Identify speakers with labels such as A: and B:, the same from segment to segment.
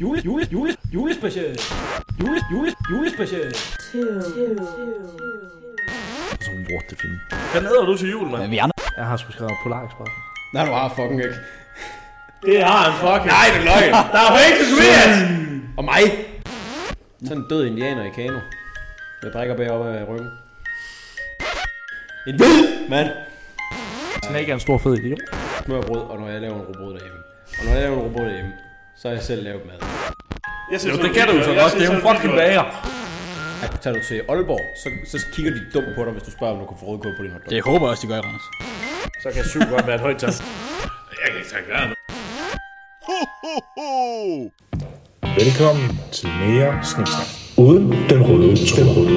A: Jule, jule, jule, julespecial. Jule, jule, julespecial.
B: Som en lortefilm.
C: Hvad lader du til jul, mand?
B: Men vi andre...
D: Jeg har sgu skrevet Polarekspressen.
E: Nej, du har fucking ikke.
C: Det har han fucking.
E: Nej, det er løgn.
C: Der er fake Tobias!
E: Og mig. Sådan en død indianer i kano. Jeg drikker bagop af ryggen. En hvid mand.
D: Snake er en stor fed idiot.
E: Smørbrød, og når jeg laver en robot derhjemme. Og når jeg laver en robot derhjemme, så har jeg selv lavet mad.
C: Jeg synes,
B: Jo, det kan du jo så godt. Det er jo en fucking bager.
E: Ej, tager du til Aalborg, så, så kigger de dumt på dig, hvis du spørger, om du kan få rødkål på din hotdog.
B: Det håber jeg også, de gør, Randers.
C: Så kan syv godt være et højt tal. Jeg kan ikke trække vejret nu.
F: Velkommen til mere sniksnak. Uden den røde tråd.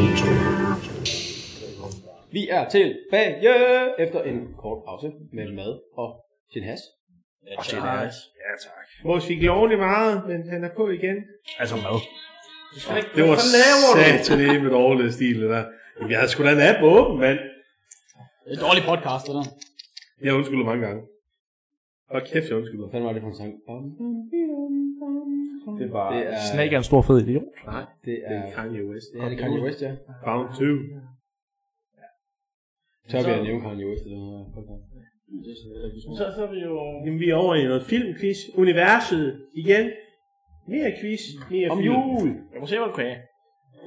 E: Vi er tilbage efter en kort pause med mad og sin has.
C: Ja, tak. Ja, tak.
G: Vores fik lovlig meget, men han er på igen.
C: Altså mad.
G: Det var sataneme dårlig stil, det der. Jamen, Jeg havde sgu da en app åben, mand.
B: Det er en dårlig podcast, det der.
G: Jeg undskylder mange gange. Og kæft, jeg undskylder.
E: Hvad fanden var det for en sang? Bum, bum, bum,
C: Det var...
E: Det er...
D: Snake er en stor fed idiot.
E: Nej, det
G: Det
E: er...
G: er Kanye West.
E: Ja, det er Kanye West, ja.
G: Bound 2.
E: Tør vi at nævne Kanye West i den her podcast?
G: Så, så er vi jo... Jamen, vi er over i noget filmquiz. Universet igen. Mere quiz, mere
E: Om
G: film.
E: jul!
C: Jeg må se, hvad du kan have.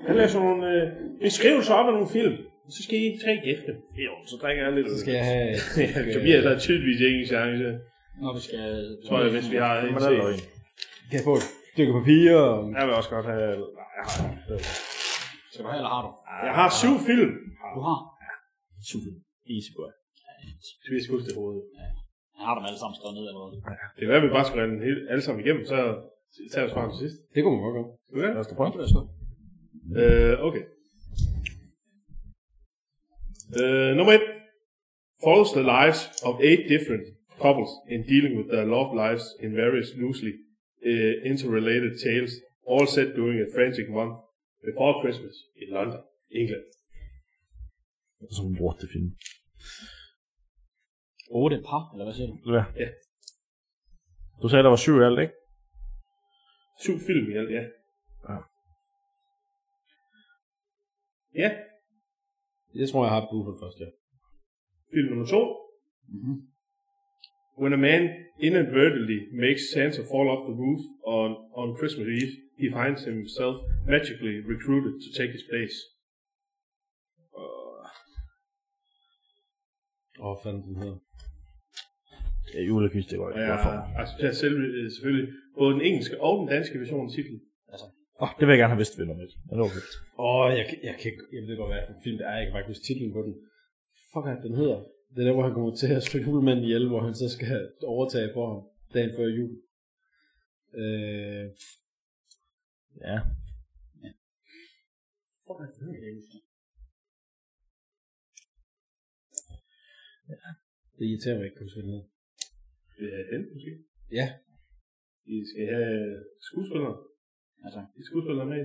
G: Jeg laver sådan nogle øh, beskrivelser op af nogle film. Så skal I tre gætte. Jo, så drikker jeg lidt.
E: Så skal jeg have...
G: Ja, Tobias har tydeligvis ikke en chance.
B: Når vi skal...
G: Tror jeg, hvis vi har en
C: Men er
G: til.
C: løgn.
E: Kan jeg få et stykke papir? og-
G: Jeg vil også godt have... Nej, jeg har
B: Skal du have, eller har du?
G: Ah. Jeg har syv film.
B: Du har?
C: Super. Easy boy.
G: Så vi skal huske det i hovedet.
B: Jeg har dem alle sammen skrevet ned, eller hvad?
G: Det er værd, at vi bare skal rende den hele, alle sammen igennem, så tager vi svaret til sidst.
E: Det kunne man godt gøre.
G: Skal vi gøre
C: Lad
G: det?
C: os da prøve.
G: Øh, okay. Øh, nummer 1. Follows the lives of eight different couples in dealing with their love lives in various loosely uh, interrelated tales, all set during a frantic month before Christmas in London, England.
B: Som en lortefilm. Otte par, eller hvad siger du?
C: Ja.
G: Ja.
C: Du sagde, der var syv i alt, ikke?
G: Syv film i alt, ja.
C: Ja.
G: Ja,
E: Jeg tror, jeg har et bud på det første.
G: Film nummer to.
B: Mhm.
G: When a man inadvertently makes Santa fall off the roof on, on Christmas Eve, he finds himself magically recruited to take his place.
E: Åh, hvad fanden den hedder.
C: Ja, julekvist, det var
G: Og jeg accepterer selv, øh, selvfølgelig både den engelske og den danske version af titlen.
C: Åh, det vil jeg gerne have vidst, venner lidt. Men det var fedt.
E: Åh, oh, jeg, kan- jeg kan ikke... Jeg ved godt, hvad for en film det er. Jeg kan bare ikke huske titlen på den. Fuck, at den hedder. Det er der, hvor han kommer til at slå julemanden ihjel, hvor han så skal overtage for ham dagen før jul. Øh,
C: Ja.
E: det irriterer mig ikke, kunne spille noget.
G: Det er den, måske.
E: Ja.
G: I skal have skuespillere.
B: Ja, tak.
G: I skuespillere med.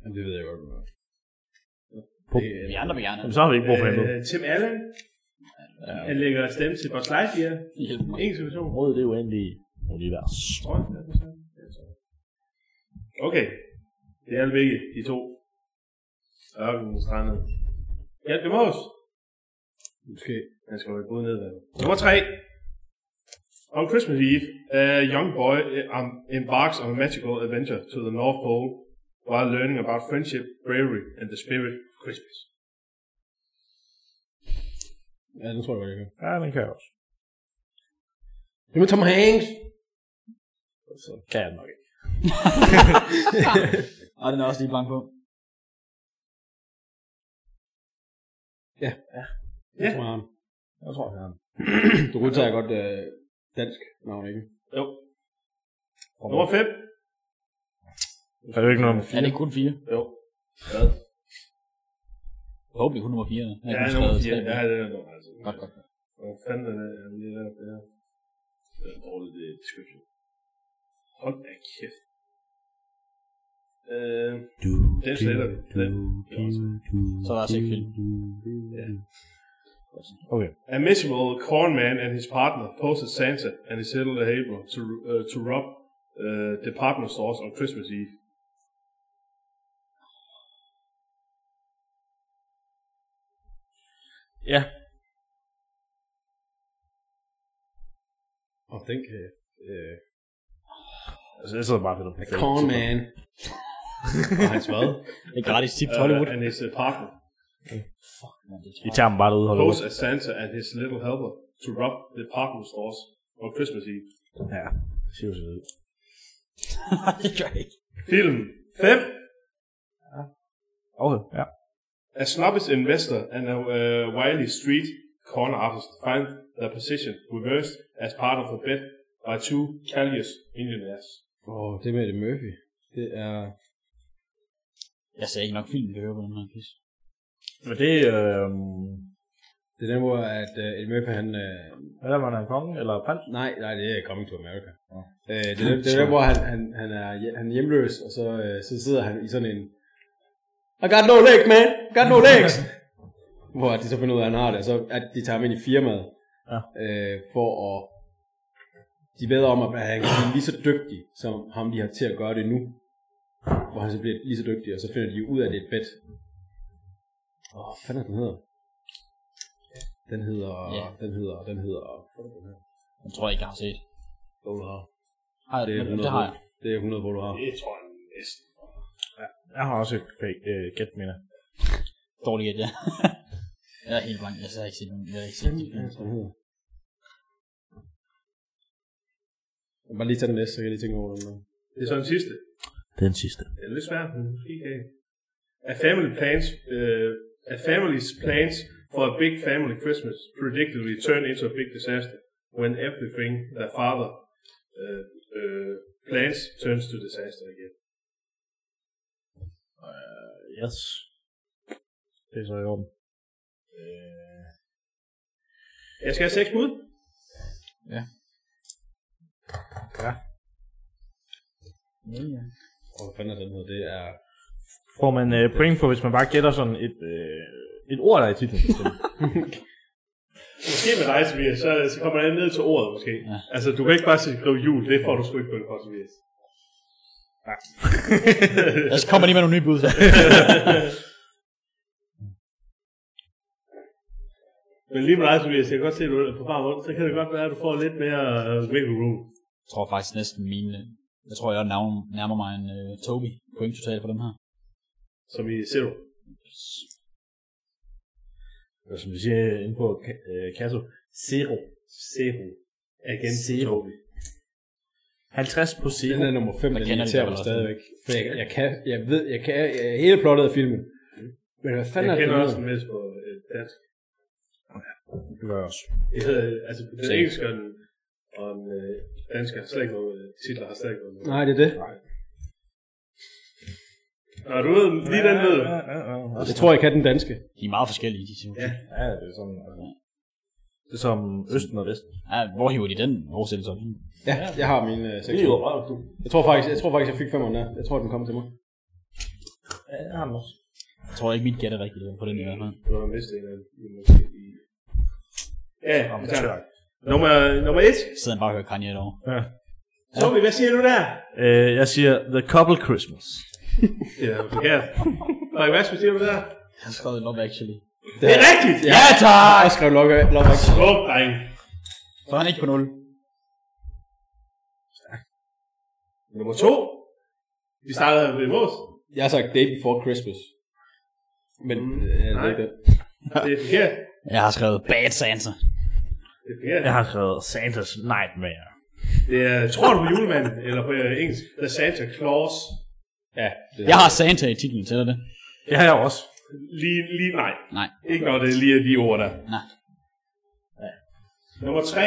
E: Jamen, det ved jeg godt, hvad det er.
B: Vi andre vil gerne.
C: Jamen, så har vi ikke brug for hende.
G: Øh, Tim Allen.
C: Ja.
G: Han lægger stemme til Buzz Lightyear.
B: Hjælp mig.
G: Engelsk version.
C: Rød, det er uendelige univers.
G: Okay. Det er begge, de to. Ørken strandet. Hjælp dem os.
E: Måske.
G: Han skal jo ikke både ned der. Nummer 3. On Christmas Eve, a young boy eh, um, embarks on a magical adventure to the North Pole while learning about friendship, bravery and the spirit of Christmas.
E: Ja, den tror jeg godt, jeg kan.
C: Ja, den kan jeg også.
E: Det med Tom Hanks!
C: Så kan jeg den nok ikke.
B: Og den er også lige blank på.
E: Jeg tror, jeg har ham.
C: Jeg tror, jeg har den.
E: Du udtager godt øh, dansk navn, ikke?
G: Jo. Nummer 5.
C: Er det ikke noget med
B: Er det ikke kun fire?
G: Jo.
B: Forhåbentlig kun nummer fire.
G: Ja, nummer 4. Ja, det er nummer altså.
B: Godt, godt.
G: Hvad fanden er det, jeg lige lavede det her? Det er en dårlig det er description. Hold da kæft. Øh, den sletter vi. Den. det er også det.
B: Så er der seks film.
G: A miserable corn man and his partner pose as Santa and is headed to Haver to, uh, to rob uh, department stores on Christmas Eve.
B: Ja.
E: Og den kan... Øh,
G: Altså, jeg sidder bare ved
E: a con man. og hans hvad?
B: Et gratis tip til Hollywood.
G: Uh, and his uh, partner.
B: Man, det
F: I tager dem bare derud, holder ud.
G: Pose as Santa and his little helper to rob department stores on Christmas Eve.
F: Ja, det ser jo sådan ud.
B: det gør jeg ikke.
G: Film 5
F: Okay, ja.
G: A snobbish investor and a uh, wily street corner artist find their position reversed as part of a bet by two callous millionaires.
E: Åh, det med det Murphy. Det er...
B: Jeg sagde ikke nok film, vi hører på den her pis.
F: Men det, øh,
E: øhm, Det er den, hvor at uh, Eddie Murphy, han... Øh,
F: eller var han konge, eller prins?
E: nej, nej, det er Coming to America. Øh, det er den, det er den hvor han, han, han, er, hje- han er hjemløs, og så, øh, så sidder han i sådan en... I got no leg, man! Got no legs! hvor de så finder ud af, at han har det, og så at de tager ham ind i firmaet.
F: Ja.
E: Øh, for at... De beder om, at han kan blive lige så dygtig, som ham de har til at gøre det nu. Hvor han så bliver lige så dygtig, og så finder de ud af, at det er et bet. Åh, hvad fanden er den hedder? Den hedder,
B: Ja.
E: den hedder, den hedder...
B: Den tror jeg ikke, jeg har set.
E: Hvor du har.
B: Har jeg
E: Det
B: det?
E: er
B: Men,
E: 100,
B: det har jeg.
E: det er 100 hvor du har.
G: Det tror jeg næsten.
F: Jeg har også et fake, øh, gæt, mener jeg.
B: Dårligt gæt, ja. jeg er helt blank. Jeg har ikke set nogen. Jeg har ikke set de film.
E: Jeg bare lige tage den næste, så kan jeg lige tænke over den.
G: Det er så den sidste.
F: Den sidste.
G: Det er lidt svært, men måske kan jeg. A family plans, uh, a family's plans for a big family Christmas predictably turn into a big disaster when everything their father uh, uh, plans turns to disaster again.
F: Øh, Yes. Det er så i orden. Øh,
G: Jeg skal have seks bud.
E: Og hvad fanden er den hedder? Det er...
F: får man øh, point for, hvis man bare gætter sådan et, øh, et ord, der er i titlen. for eksempel.
G: Måske med dig, Tobias, så, så kommer jeg ned til ordet måske.
B: Ja.
G: Ja. Altså, du kan ikke bare sige, skrive jul, det får du sgu ikke bøn for, Tobias.
B: Ellers kommer lige med nogle nye bud, så.
G: Men lige med dig, Tobias, jeg kan godt se, at du er på far rundt, så kan det godt være, at du får lidt mere uh, wiggle room.
B: Jeg tror faktisk næsten mine... Jeg tror, jeg navn- nærmer mig en uh, Toby. Point totalt for dem her.
G: Som i Zero.
F: Eller som vi siger inde på Ka- øh, Kasso, zero.
G: Zero. Again
F: Zero.
G: Toby.
F: 50 på zero.
E: Den er nummer 5,
B: Jeg
E: den
B: kender det
E: irriterer
B: vel
E: mig
B: også.
E: stadigvæk. For jeg, jeg, kan, jeg ved, jeg kan jeg, hele plottet af filmen. Men hvad fanden
G: Jeg
E: er
G: kender
E: det?
G: også en masse på øh, dansk.
F: Det gør jeg også.
G: Det hedder, øh, altså den
B: Zero.
G: engelske og den, og den øh, danske har slet ikke noget øh, titler, har slet ikke noget.
E: Nej, det er det.
G: Nå, du ved, lige den ved.
F: Ja, ja, ja, ja.
E: Jeg tror, jeg kan den danske.
B: De er meget forskellige, de siger. Ja.
F: Ja, det er sådan, altså, det er som Østen og Vesten.
B: ja hvor hiver de den oversættelse op? henne?
E: Ja, jeg har min øh, 6.
F: røv, du.
E: Jeg tror faktisk, jeg tror faktisk, jeg fik 5'eren der. Jeg tror, den kom til mig.
F: Ja, jeg har den også.
B: Jeg tror ikke, mit gæt er rigtigt øh, på den her.
G: Du har mistet en af dem. I måske i- Ja,
F: Nå, men
G: tak.
F: tak.
G: Nummer, nummer et.
B: Sidder han bare og hører Kanye derovre.
F: Ja.
G: Tommy, hvad siger du der?
F: Øh, jeg siger The Couple Christmas.
G: Ja, ja. Frederik, hvad siger du der?
B: Jeg har skrevet Love Actually.
G: Det er rigtigt! Ja!
B: Ja, tak!
E: Jeg skrev Love Love Actually.
G: Åh, dreng.
B: Så er han ikke på 0.
G: Nummer to. Vi startede ved Mås.
E: Jeg har sagt Day Before Christmas. Men
G: Mm,
E: øh, det er
G: nej.
E: ikke det.
G: Det er forkert.
B: Jeg har skrevet Bad Santa.
G: Det er forkert.
F: Jeg har skrevet Santa's Nightmare.
G: Det er, tror du på julemanden, eller på øh, engelsk, The Santa Claus.
E: Ja, det er
B: Jeg har Santa i titlen, tæller det?
F: Det har jeg også.
G: Lige, lige, nej.
B: Nej,
G: Ikke når det lige er de ord der.
B: nej.
G: Nummer tre.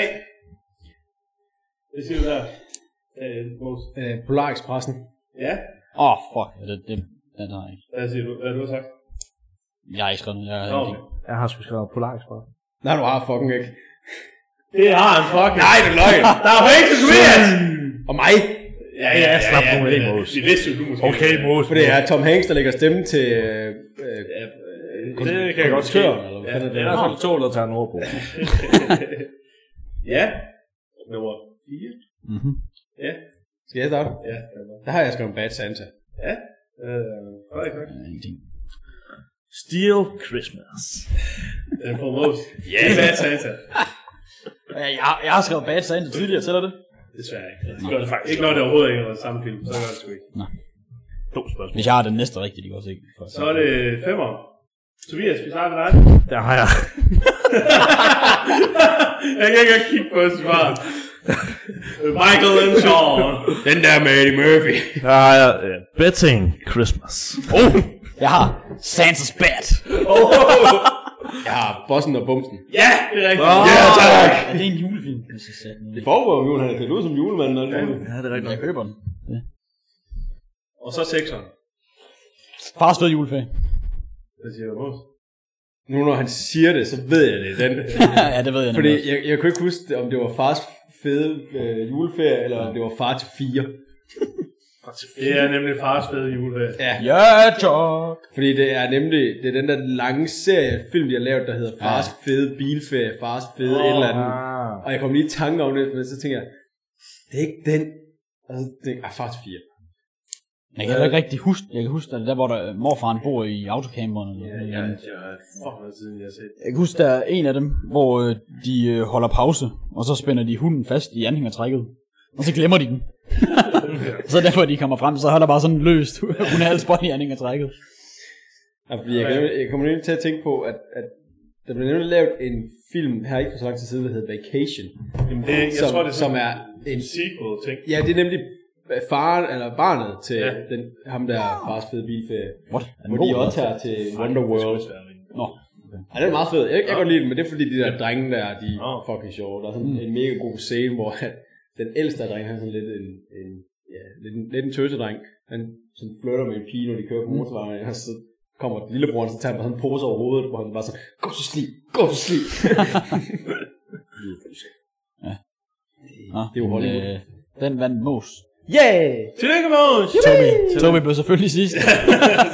G: Hvad siger du der? Øh, Mås.
E: øh, Polar Expressen.
G: Ja,
B: Åh, oh, fuck. Ja, Det, det, den har jeg ikke.
G: hvad siger du? Hvad har du sagt?
B: Jeg har ikke skrevet den. Jeg,
G: Nå, okay.
F: Jeg har sgu skrevet Polar Express.
E: Nej, du har fucking ikke.
G: Det har han fucking. Nej, det er løgn. Der er point til Tobias.
E: Og mig!
G: Ja, ja, ja.
F: Slap nu
G: men,
F: af,
G: øh,
F: Mås.
G: Vi vidste jo, du måske.
F: Okay, Mås.
E: For det er Tom Hanks, der lægger stemme til... Øh, øh,
G: Ja, øh,
F: Det kan jeg godt se.
E: konduktøren, eller hvad
G: Ja,
E: fanden
F: Det er sådan to, der tager en ord på.
G: ja. Nummer 4.
B: Mm-hmm.
G: Ja.
E: Skal jeg starte?
G: Ja, det er godt.
E: Der har jeg skrevet Bad Santa.
G: Ja, øh, Frederik, tak.
B: Ja, ingenting.
F: Steel Christmas.
G: Den får most. Ja, yeah. hvad Santa?
B: Ja, jeg, har- jeg har skrevet Bad Santa tidligere, tæller det?
G: Desværre ikke. Det gør det faktisk. Ikke når det overhovedet ikke er samme film, så gør det sgu ikke.
F: To spørgsmål.
B: Hvis jeg har den næste rigtige, det kan også ikke.
G: Så er det femmer. Tobias, vi starter med dig.
F: Der har jeg.
G: Jeg kan ikke engang kigge på svaret. Michael and Sean.
E: Den der med Eddie Murphy.
F: Der har jeg uh, Betting Christmas.
B: Oh! Jeg har Santa's Bad.
E: Jeg har Bossen og Bumsen.
G: Ja, det er rigtigt. Ja, tak.
B: Er det en julefilm? Hvis jeg sagde den.
E: Det foregår jo, han er klædt ud som julemand. Og ja.
B: Ja, det er rigtigt. Jeg køber den.
G: Og så sekseren.
B: Far stod juleferie.
G: Hvad siger du, Mås?
E: Nu når han siger det, så ved jeg det. er Den.
B: ja, det ved jeg
E: Fordi
B: nemlig også.
E: jeg, jeg kunne ikke huske, om det var fars fede øh, juleferie, eller om det var far til fire.
G: Det er nemlig fars fede juleferie.
E: Ja,
B: Ja, Chuck.
E: fordi det er nemlig det er den der lange serie af film, de har lavet, der hedder Fars fede bilferie, Fars fede oh, et eller andet.
F: Ah.
E: Og jeg kom lige i tanke om det, men så tænker jeg, det er ikke den. Og så tænkte jeg, ah, Fars fire.
B: Jeg kan
G: Øh,
B: heller ikke rigtig huske, jeg kan huske, at der hvor der, morfaren bor i autocamperen. Eller
G: Ja,
B: sådan
G: ja,
B: noget.
G: det er fucking noget siden, jeg har set.
B: Jeg kan huske, der er en af dem, hvor øh, de øh, holder pause, og så spænder de hunden fast i anhængertrækket. Og så glemmer de den. så derfor, de kommer frem, så har der bare sådan løst hun er halsbånd i anhængertrækket.
E: Altså, fordi jeg, kan, nemlig- jeg kommer nemlig til at tænke på, at, at der blev nemlig lavet en film her ikke for så lang tid siden, der hedder Vacation.
G: Jamen, det, jeg
E: som,
G: tror, det er
E: som
G: sådan
E: er en...
G: en sequel ting.
E: Ja, det er nemlig øh, faren, eller barnet til
G: Ja.
E: ja. den, ham der fars fede bilferie.
B: What?
E: Hvor de også tager til Wonderworld.
B: Nå.
E: Ja, den er meget fed. Jeg, jeg kan godt lide den, men det er fordi, de der drenge der, de
G: Nå. Mm.
E: er fucking sjove. Der er sådan en mega god scene, hvor han, den ældste af drenge, han er sådan lidt en, en, ja, lidt en, lidt en tøsedreng. Han sådan flytter med en pige, når de kører
G: Mm.
E: på motorvejen, og så kommer lillebroren, så tager han bare sådan en pose over hovedet, hvor han bare så, gå så sli, gå så sli.
B: Nå,
E: Det er jo
B: men,
E: Hollywood.
B: øh, den vandt Mos.
G: Tillykke, Mås!
B: Toby. Toby blev selvfølgelig sidst.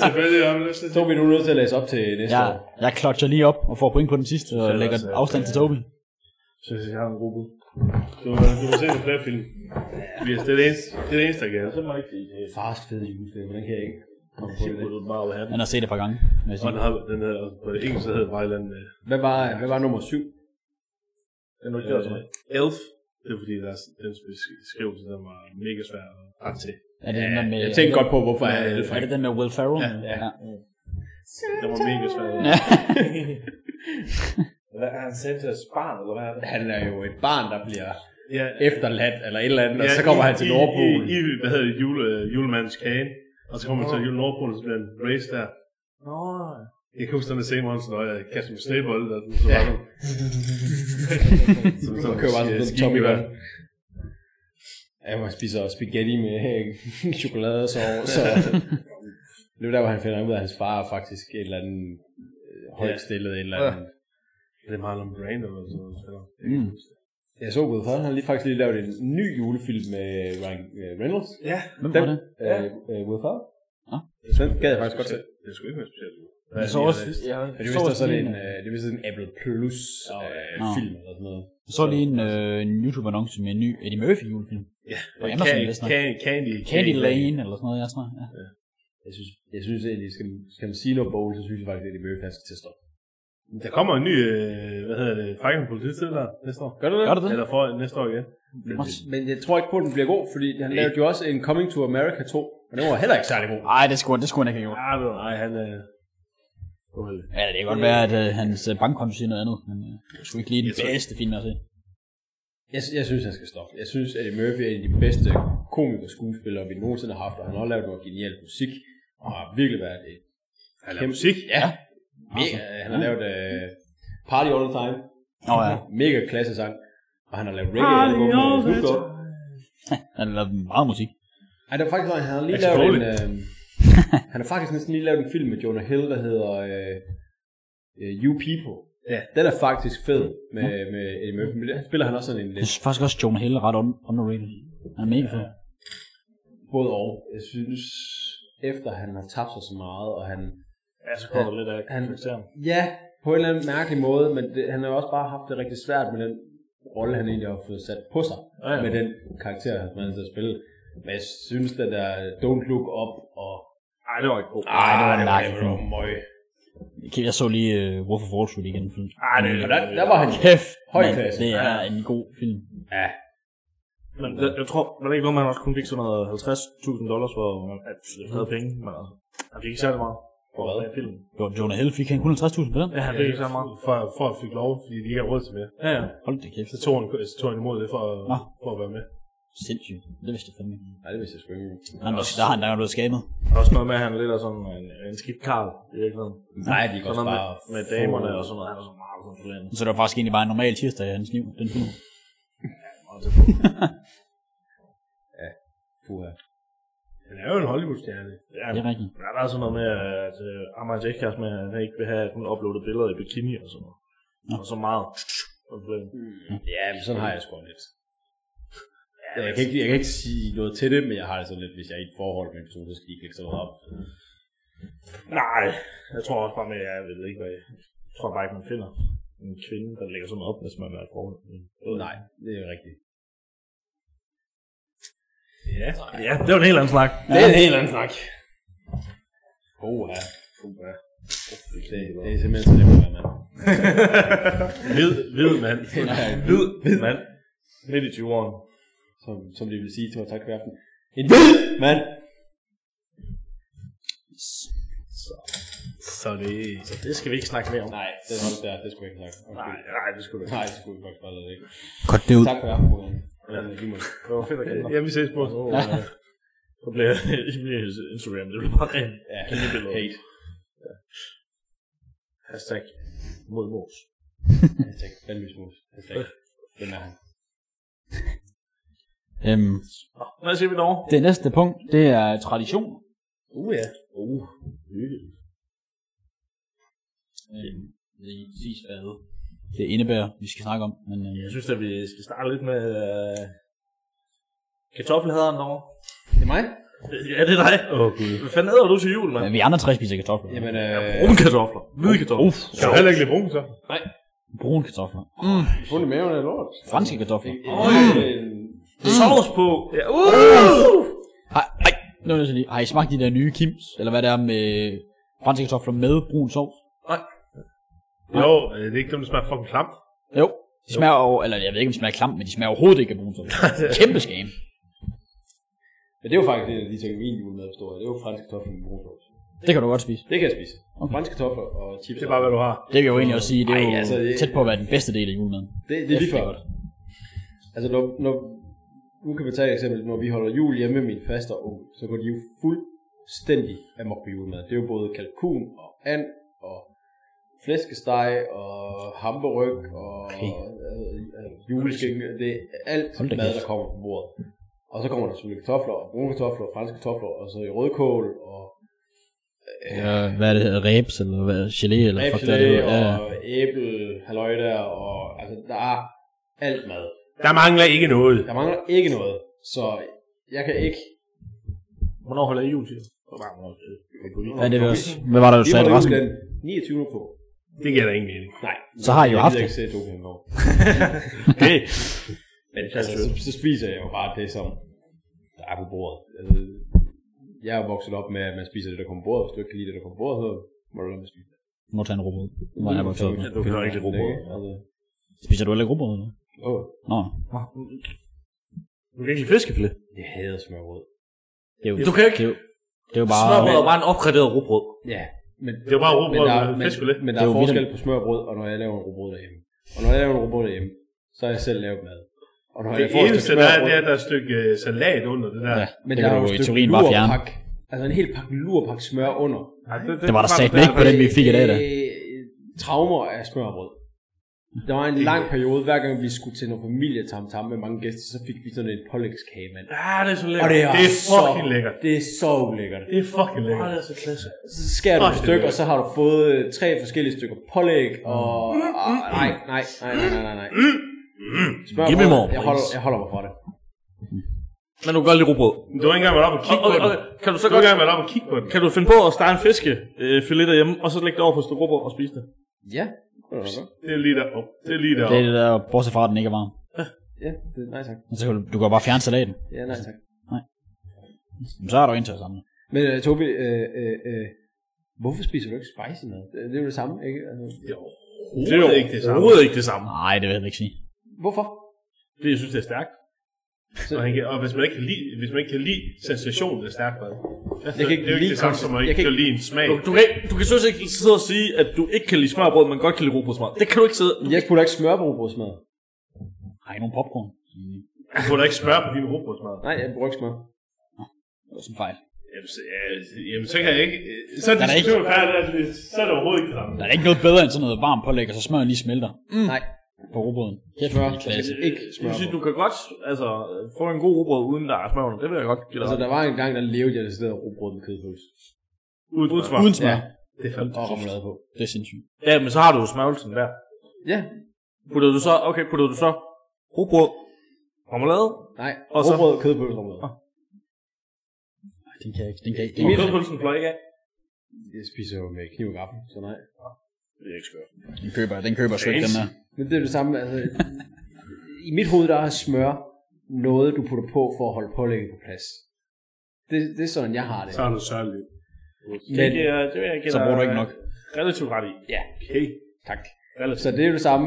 G: Selvfølgelig har vi lyst til
E: Så er vi nu nødt til at læse op til næste
B: Jeg,
E: år.
B: jeg klotcher lige op og får point på den sidste, og lægger
F: også, ja.
B: afstand til Toby.
F: Synes jeg har en gruppe.
G: Du, øh, du må se nogle flere film. Tobias, det er det eneste, det er det eneste, der kan.
F: må ikke sige det.
E: Fars fede juleferie, hvordan kan jeg ikke komme på
F: Det
E: det?
F: burde du bare have den.
B: Han har set det et par gange. vil jeg
G: Og
B: sige.
G: den har den her, på engelsk hedder Vejland øh, med
E: Hvad var, hvad var nummer syv?
F: Den er
G: øh, Elf. Det er fordi, der er, den beskrivelse, der var mega svær at rette til.
B: Er det den der med...
E: Jeg tænkte godt på, hvorfor jeg...
B: Er det den med Will Ferrell?
G: Ja,
B: ja. ja.
G: Den var mega svær.
F: Hvad er han sendt til barn, eller hvad er det?
E: Han er jo et barn, der bliver
G: Ja,
E: efterladt, eller et eller andet, og så kommer
G: i-
E: han til
G: i-
E: Nordpolen.
G: I, i, hvad hedder det, jule, julemandens kage. Og så kommer han til jule Nordpolen, så bliver han race der.
F: Nå,
G: Jeg kan huske den der scene, hvor han sådan, "Nå, jeg kaster med snebold, og sådan, så var der... Som
E: Så kører bare sådan den Tommy Gun. Ja, man spiser spaghetti med øh, chokolade og sovs, så det er der, hvor han finder ud af, at hans far er faktisk et eller andet øh, højt stillet, et eller andet.
G: Det er Marlon Brando eller sådan noget.
B: Mm.
E: Jeg så Gud han har lige faktisk lige lavet en ny julefilm med Ryan øh, Reynolds.
G: Ja.
B: Hvem
E: Den,
B: var det?
E: øh, øh, Will Ferrell.
B: Nå.
E: Den gad jeg faktisk godt se.
G: Det skulle ikke være specielt.
B: Jeg så også, jeg
E: Men det er vist også sådan en, øh, det er vist sådan en Apple Plus øh,
B: Nå.
E: film eller sådan noget.
B: Jeg så lige en, øh, en YouTube-annonce med en ny Eddie Murphy julefilm.
G: Ja.
B: Og Andersen Vestner.
G: Candy, Candy,
B: Candy Lane eller sådan noget, jeg tror. Ja.
E: Jeg synes, jeg synes egentlig, skal, skal man sige noget bowl, så synes jeg faktisk, at det er Murphy, han skal til at stoppe.
G: Der kommer en ny, øh, hvad hedder det, Fighting Politiet der næste år.
E: Gør du
B: Gør det det?
G: Eller for næste år igen.
B: What?
E: Men jeg tror ikke på, at den bliver god, fordi han lavede jo også en Coming to America 2, og den var heller ikke særlig god.
B: Ej, det skulle, det skulle han ikke have gjort.
G: Nej, nej, han er... Øh...
B: Ja, det kan godt være, at øh, hans øh, bankkonto siger noget andet, men øh, det skulle ikke lige den
G: Jeg tror-
B: bedste film, jeg har set.
E: Jeg, jeg synes, han skal stoppe. Jeg synes, at Murphy er en af de bedste komikerskuespillere, vi nogensinde har haft, og han har også lavet noget genial musik, og har virkelig været et
G: Han laver musik.
E: Ja, mega. Han har lavet øh, Party All The Time,
B: Nå ja,
E: mega klasse sang, og han har lavet reggae-album med Snoop Dogg.
B: han har lavet meget musik.
E: Ej, det var faktisk, han har lige
G: Axel
E: lavet en... Øh, han har faktisk næsten lige lavet en film med Jonah Hill, der hedder øh, øh, You People.
G: Ja.
E: Den er faktisk fed med, med Eddie Murphy. Men der spiller han også sådan en
B: Jeg
E: lidt
B: synes faktisk også, Jonah Hill er ret un- underrated. Han er mega fed.
E: både og. Jeg synes, efter han har tabt sig så meget, og han...
F: Ja, så kommer der lidt af
E: Han-
F: karakteren.
E: Ja, på en eller anden mærkelig måde, men det, han har også bare haft det rigtig svært med den rolle, han egentlig har fået sat på sig.
F: Ja, ja.
E: Med den karakter, han har til at spille. Men jeg synes, den der øh, Don't Look Up og...
F: Nej, det var ikke god.
E: Ej,
B: det var en
E: den
B: mærkelig
E: var
B: film.
E: møg.
B: Okay, Jeg så lige uh, Wolf of Wall Street igen. Film.
F: Ej, det
E: Og der, der var han
B: Kæft,
E: Høj
B: mand,
E: klasse.
B: det er en god film.
E: Ja,
F: Men jeg, jeg tror, var det ikke noget, man også kun fik sådan noget 50.000 dollars for, at jeg havde penge, men altså, han fik ikke særlig meget for
E: Hvad?
F: den film.
B: Jo, Jonah Hill fik han kun 50.000 på den.
F: Ja, han fik ikke særlig meget.
G: Øh, For, for at fik lov, fordi de ikke har råd til mere.
F: Ja, ja.
B: Hold da kæft.
G: Så tog han, så tog han imod det for, at-
B: Nå.
G: for at være med.
B: Sindssygt. Det vidste jeg fandme. ikke.
E: nej, det vidste jeg sgu ikke.
B: Han er, der har han der blevet skamet.
F: Og Også noget med, at han lidt er sådan en, en skidt karl, i virkeligheden.
E: Nej, de kan
F: Sådan
E: også
F: noget med,
E: bare...
F: med damerne og sådan noget, han er sådan meget konsulent.
B: Så det var faktisk egentlig bare en normal tirsdag i hans liv, den film.
E: Puha.
G: Han er jo en Hollywood-stjerne.
F: Ja,
B: Det er rigtigt.
F: men der er sådan noget med, at øh, Amar Jack også med, at han ikke vil have, at hun uploadede billeder i bikini og sådan noget. Og så meget konsulent.
E: Ja, men sådan har jeg sgu lidt. Jeg kan, ikke, jeg kan ikke sige noget til det, men jeg har det sådan lidt, hvis jeg er i et forhold med en person, så skal de ikke lægge så meget op.
F: Nej, jeg tror også bare med, at jeg ved ikke, hvad jeg, jeg tror bare ikke, man finder en kvinde, der lægger sådan noget op, hvis man er i et forhold.
E: Nej, det er jo rigtigt.
F: Ja, ja, det var en helt anden snak.
E: Det er en helt anden snak. Oha. Det, det er simpelthen så nemt at være mand.
F: Hvid, hvid mand.
E: Nej.
F: Hvid, hvid mand. Midt i 20'erne.
E: Som, som de vil sige til mig tak for aften. En hvid mand!
F: Så det... Så det skal vi ikke snakke mere om.
E: Nej, det er nok der. Det skulle jeg ikke snakke.
F: Nej, nej, det skulle du ikke.
E: Nej, det skulle jeg faktisk bare lade det ikke.
B: Cut det ud.
E: Tak for aften, Morgan. Ja.
F: Det var fedt at kende dig.
G: Øh, Ja, vi ses på.
F: Åh, ja. Så bliver I bliver Instagram, det bliver bare rent.
E: Ja,
F: Kæmpebilleder.
E: hate.
F: Hashtag mod mos.
E: Hashtag vandløsmus. Hashtag. Hvem er han?
B: Øhm,
F: Hvad siger vi derovre?
B: det næste punkt, det er tradition.
E: Uh ja. Uh.
B: Øhm, det er præcis hvad det indebærer, vi skal snakke om. Men, øh,
F: Jeg synes, at vi skal starte lidt med øh, kartoffelhaderen derovre.
E: Det er mig?
F: Ja, det er dig. Åh, oh, gud. Hvad fanden hedder du til jul, mand?
B: men vi andre tre spiser kartofler.
E: Jamen, øh,
F: Brune kartofler. Hvide kartofler.
B: Uff,
G: Kan du heller ikke lide brun, så?
B: brune kartofler. Mm,
E: fund i maven er lort.
B: franske kartofler.
F: øh,
G: Mm.
F: Sovs på. Ja, uh!
B: Ej, ej, nu er jeg sådan lige. Har I smagt de der nye Kims? Eller hvad det er med franske kartofler med brun sovs?
G: Jo, øh, det er ikke dem, der smager fucking klamt.
B: Jo. De smager over, eller jeg ved ikke, om de smager klamt, men de smager overhovedet ikke af brun sovs. Kæmpe skam.
E: Men det er jo faktisk en af de ting, min julemad består af. Det er jo franske kartofler med brunsovs.
B: Det kan du godt spise.
E: Det kan jeg spise. Okay. Franske kartofler og chips.
G: Det er bare, hvad du har.
B: Det vil jeg jo egentlig også sige, det er jo
E: Ej, altså, det-
B: tæt på at være den bedste del af julemaden.
E: det, det er lige
B: Kæft,
E: før. Altså, når, når, nu kan man tage et eksempel. Når vi holder jul hjemme med min faste og onkel, så går de jo fuldstændig amok på julemad. Det er jo både kalkun og and og flæskesteg og hamburg og okay. øh, øh, juleskinke. Det er alt
B: Hold da
E: mad,
B: kæft.
E: der kommer på bordet. Og så kommer der selvfølgelig kartofler og brune kartofler og franske kartofler og så i rødkål og
B: Ja, hvad er det her? Rebs eller hvad? Gelé eller fuck hvad
E: Æblegelé
B: det hedder. Ja, ja.
E: og æble, halløj der, og altså, der er alt mad.
G: Der mangler ikke noget.
E: Der mangler ikke noget, så jeg kan ikke...
F: Hvornår holder I jul til?
B: Ja, det er det også. Hvad var det, du
E: Vi
B: sagde,
E: holder
B: Rasmus?
E: jul den 29. på.
G: Det giver da ingen mening.
E: Nej.
B: Så har I jo
E: jeg
B: haft
E: gider ikke
B: det.
E: se et dukkehjem over.
F: Hey.
E: Men altså, så, så, spiser jeg jo bare det, som der er på bordet. Altså, jeg er vokset op med, at man spiser det, der kommer på bordet. Hvis du ikke kan lide det, der kommer på bordet, så må du lade mig spise.
B: Må du tage en robot? Hvor er jeg vokset op med?
F: Du kan ikke lide rugbrød.
E: Altså,
B: Spiser du heller ikke robot eller?
E: åh,
B: Nå,
F: Du kan ikke lide fiskefilet.
E: jeg hader smørbrød.
B: det er jo...
F: Du kan ikke-
B: Det er jo, det er jo bare...
F: Smørbrød er bare en opgraderet rugbrød.
E: Ja, men
G: Det var bare
E: men
B: øh,
G: rugbrød
E: der,
G: med
E: men,
G: fiskefilet.
E: men der
B: Det
E: er,
B: er jo
E: forskel på smør og brød, og når jeg laver en rugbrød derhjemme. Og når jeg laver en rugbrød derhjemme, så har jeg selv lavet mad. Og når
G: Det
E: jeg får et
G: eneste,
E: stykke
G: der
E: smør
G: er,
E: og brød,
G: det er, der er et stykke øh, salat under det der.
B: Ja,
E: men
B: det
E: der
B: kan
E: er
B: du
E: jo
B: jo i
E: et stykke
B: teorien bare fjerne.
E: lurpak, altså en hel pakke lurpak smør under.
G: Ja,
B: Det var der
G: faktisk
B: satme ikke på den, vi fik i dag, da.
E: Øh, Traumer af smør og brød. Der var en lang periode, hver gang vi skulle til noget familietamtam med mange gæster, så fik vi sådan en pålægskage, mand.
F: Ja, det er så
E: Og
F: lækkert.
G: Det
E: det er,
G: er
E: så,
G: fucking lækkert.
E: Det er så ulækkert.
G: Det er fucking lækkert.
F: det er så klasse.
E: Så skærer du
G: Ej,
E: et
G: det
E: stykke,
G: er-
E: og så har du fået øh, tre forskellige stykker pålæg,
F: Mm.
E: og... ah, nej, nej, nej, nej, nej, nej, nej.
F: Mm.
E: Smør
F: Give me
E: brød.
F: more,
E: jeg holder,
F: please.
E: jeg holder mig fra det.
F: Men du kan godt lide rugbrød.
G: Du har ikke engang været op og kigge på
F: Okay,
G: den.
F: okay. Kan du så
G: Du har
F: godt...
G: ikke engang været op og kigge på den.
F: Kan du finde på at starte en fiskefilet derhjemme, og så lægge det over på et stykke rugbrød og spise det?
E: Ja, det var da godt.
G: Det er lige der. Oh, det er lige der.
B: Det er det der, bortset fra, at den ikke er varm.
E: Ja, det, nej tak.
B: Men Så kan du, du kan jo bare fjerne salaten.
E: Ja, nej tak.
B: Nej. Jamen, Så er der en til at samle.
E: Men uh, Tobi, øh, øh, øh, hvorfor spiser du ikke spicy mad? Det det er jo det samme, ikke? Altså,
G: Det er jo ikke det samme.
F: Overhovedet ikke det samme.
B: Nej, det vil jeg ikke sige.
E: hvorfor?
F: Fordi jeg synes, det er stærkt.
E: Så-
F: Og, han kan, og hvis, man ikke kan lide, hvis man ikke kan lide sensationen af stærkt mad,
E: Jeg kan
F: det
E: ikke
F: er jo ikke
E: lide
F: det samme,
E: konse-
F: som at
E: jeg
F: ikke
E: kan
F: kan lide en smag.
C: Du, du, kan, ikke- du kan synes ikke sidde og sige, at du ikke kan lide smørbrød, men godt kan lide robrødsmør. Det kan du ikke sidde.
E: Jeg putter ikke smør på rugbrødsmad.
B: Har I nogen popcorn? Mm.
F: Du får da ikke smør på din robrødsmad.
E: Nej, jeg bruger ikke smør.
B: Det var sådan en fejl.
F: Jamen, så- ja, jamen, så kan jeg ikke...
G: Så er
B: Der er da ikke-
G: diskussionen færdig, altså, så er det overhovedet ikke det samme.
B: Der er ikke noget bedre end sådan noget varmt pålæg, og så smøren lige smelter
E: Mm. Nej,
B: på rugbrøden. Kæft,
E: smør.
B: det er klasse.
E: Ikke smør
F: Jeg synes,
E: på.
F: du kan godt altså, få en god robrød uden der er smør. under. Det vil jeg godt give dig.
E: Altså, der var en gang, der levede jeg det sted rugbrød med kødpølse.
F: uden, uden smør.
B: Uden smør.
E: Ja.
F: Det er fandme.
E: Og remoulade på.
B: Det er sindssygt.
F: Ja, men så har du jo smørgelsen der.
E: Ja,
F: Putter du så... Okay, putter du så robrød, marmelade,
E: nej.
F: Og så-
E: Rugbrød, kødpølse, remoulade.
B: Ej, Den kan jeg ikke. Den kan jeg ikke.
F: og kødpølsen fløj ikke af.
E: Jeg spiser jo med kniv og gaffel, så nej.
F: Det er ikke skørt.
B: Den køber, den køber sgu ikke, den der.
E: Men det er det samme, altså... I mit hoved, der er smør noget, du putter på for at holde pålægget på plads. Det, det er sådan, jeg har det.
G: Så er det særligt.
E: Men,
F: Det, øh, det vil jeg give
B: Så
F: dig
B: bruger du ikke nok.
F: Relativt ret i.
E: ja,
F: Okay.
E: tak.
F: Relativt.
E: Så det er jo det samme.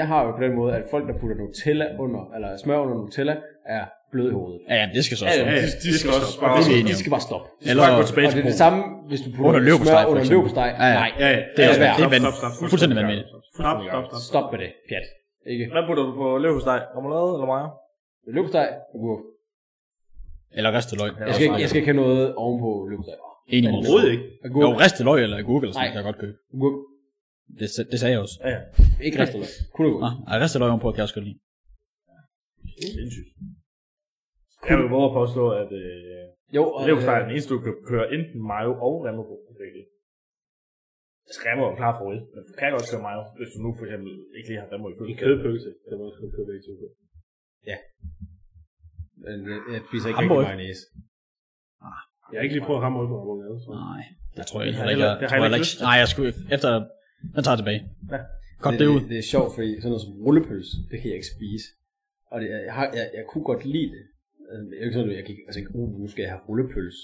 E: Jeg har jo på den måde, at folk, der putter Nutella under, eller smør under Nutella, er bløde i hovedet.
B: Ja, ja, det skal så
E: Ja,
B: også.
E: ja,
B: være.
F: Ja, de, de, skal også spare.
B: Det er vi
E: De
B: enige om.
E: skal bare stoppe.
B: Eller
F: Bare gå tilbage
E: Og det
F: til
E: er det samme, hvis du putter
B: Under løbesteg,
E: smør
B: for
E: under
B: eksempel.
E: løbesteg.
B: Ja, ja.
E: Nej,
F: Ja, ja.
E: Ja,
B: Det er, det er
E: stop,
B: vand,
G: stop, stop.
B: fuldstændig vanvittigt.
G: Stop, stop, stop.
E: stop med det. Pjat. Ikke?
F: Hvad putter du på løb hos dig? Remoulade eller mayo?
E: Løbesteg, agurk.
B: Eller ristet løg.
E: Jeg skal, ikke, jeg skal ikke have noget ovenpå løbesteg.
B: Enig med
F: Overhovedet ikke.
E: Agurk,
B: Jo, ristet løg eller Google, sådan,
E: Nej.
B: kan jeg godt købe.
E: agurk.
B: Det, sa- det sagde jeg også.
F: Ja, ja.
E: Ikke resten af Kun agurk.
B: Ah, ej, ristet løg ovenpå kan jeg også godt lide.
F: Sindssygt. Jeg vil våge at påstå, at øh,
E: Jo, og,
F: leverpostej er den eneste, du kan køre enten mayo og remme på. Skræmmer og klar favorit, men du kan godt køre mayo, hvis du nu for eksempel ikke lige har remme i kød.
G: En kødpølse. Det var også en kødpølse.
E: men jeg, øh, jeg spiser ikke
B: Hamburg.
E: rigtig mayonnaise.
G: Jeg har ikke lige prøvet at ramme ud på marmelade. så-
B: Nej, det tror jeg
F: Det
B: ikke.
F: har
B: Jeg,
F: heller-
B: jeg,
F: det har
B: tror
F: heller
B: jeg
F: ikke
B: ikke. Nej, jeg skulle efter... Den tager jeg tilbage.
F: Ja.
B: Godt det ud.
E: Det, det er sjovt, fordi sådan noget som rullepølse, det kan jeg ikke spise. Og det, jeg, har, jeg, jeg kunne godt lide det. Øh, Jeg, er ikke sådan, at jeg gik og tænkte, uh, nu skal jeg have rullepølse.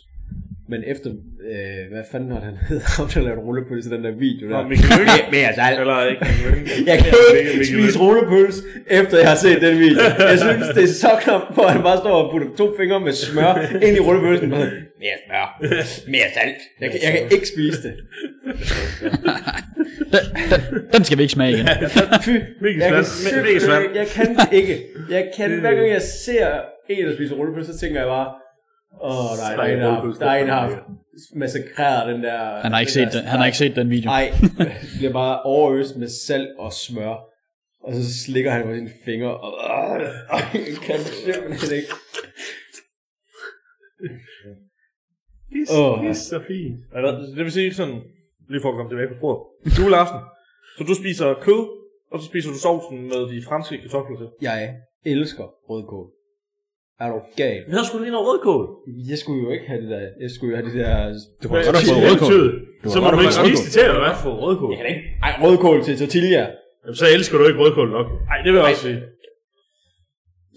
E: Men efter, øh, hvad fanden var det, han hed, ham der lavede rullepølse, den der video der.
G: Og Mikkel Lykke.
E: Men jeg,
F: altså
E: jeg,
G: Eller ikke Mikkel Lykke.
E: jeg kan
G: Mikkel-
E: ikke
G: Mikkel
E: spise
G: Lykke.
E: rullepølse, efter jeg har set den video. Jeg synes, det er så klamt, hvor han bare står og putter to fingre med smør ind i rullepølsen. og sådan, Mere smør, mere salt. Jeg kan, jeg kan ikke spise det.
B: Den, den, den skal vi ikke smage igen.
E: Fy, jeg kan, simpelthen, jeg kan det ikke. Jeg kan, hver gang jeg ser en, der spiser rullepølse, så tænker jeg bare, åh oh, nej, der er en, der har, der er en, der har massakreret den der...
B: Han har ikke set den, han har ikke set den video.
E: Nej, bliver bare overøst med salt og smør. Og så slikker han på sine fingre, og øh, jeg kan simpelthen ikke. Åh.
G: Det er så fint.
F: Eller, det vil sige sådan, lige for at komme tilbage på sporet. Juleaften. Så du spiser kød, og så spiser du sovsen med de franske kartofler til.
E: Jeg elsker rødkål. Er du gal?
F: Vi havde sgu lige noget rødkål.
E: Jeg skulle jo ikke have det der. Jeg skulle jo have det der...
B: Du har godt have fået
G: Det
B: rødkål.
G: betyder, så må
B: godt
G: du
B: have
G: ikke
B: fået
G: spise det til, eller hvad?
F: For rødkål.
E: kan ikke. Ej, rødkål til tortilla.
G: Jamen, så elsker du ikke rødkål nok.
F: Nej, det vil jeg også sige.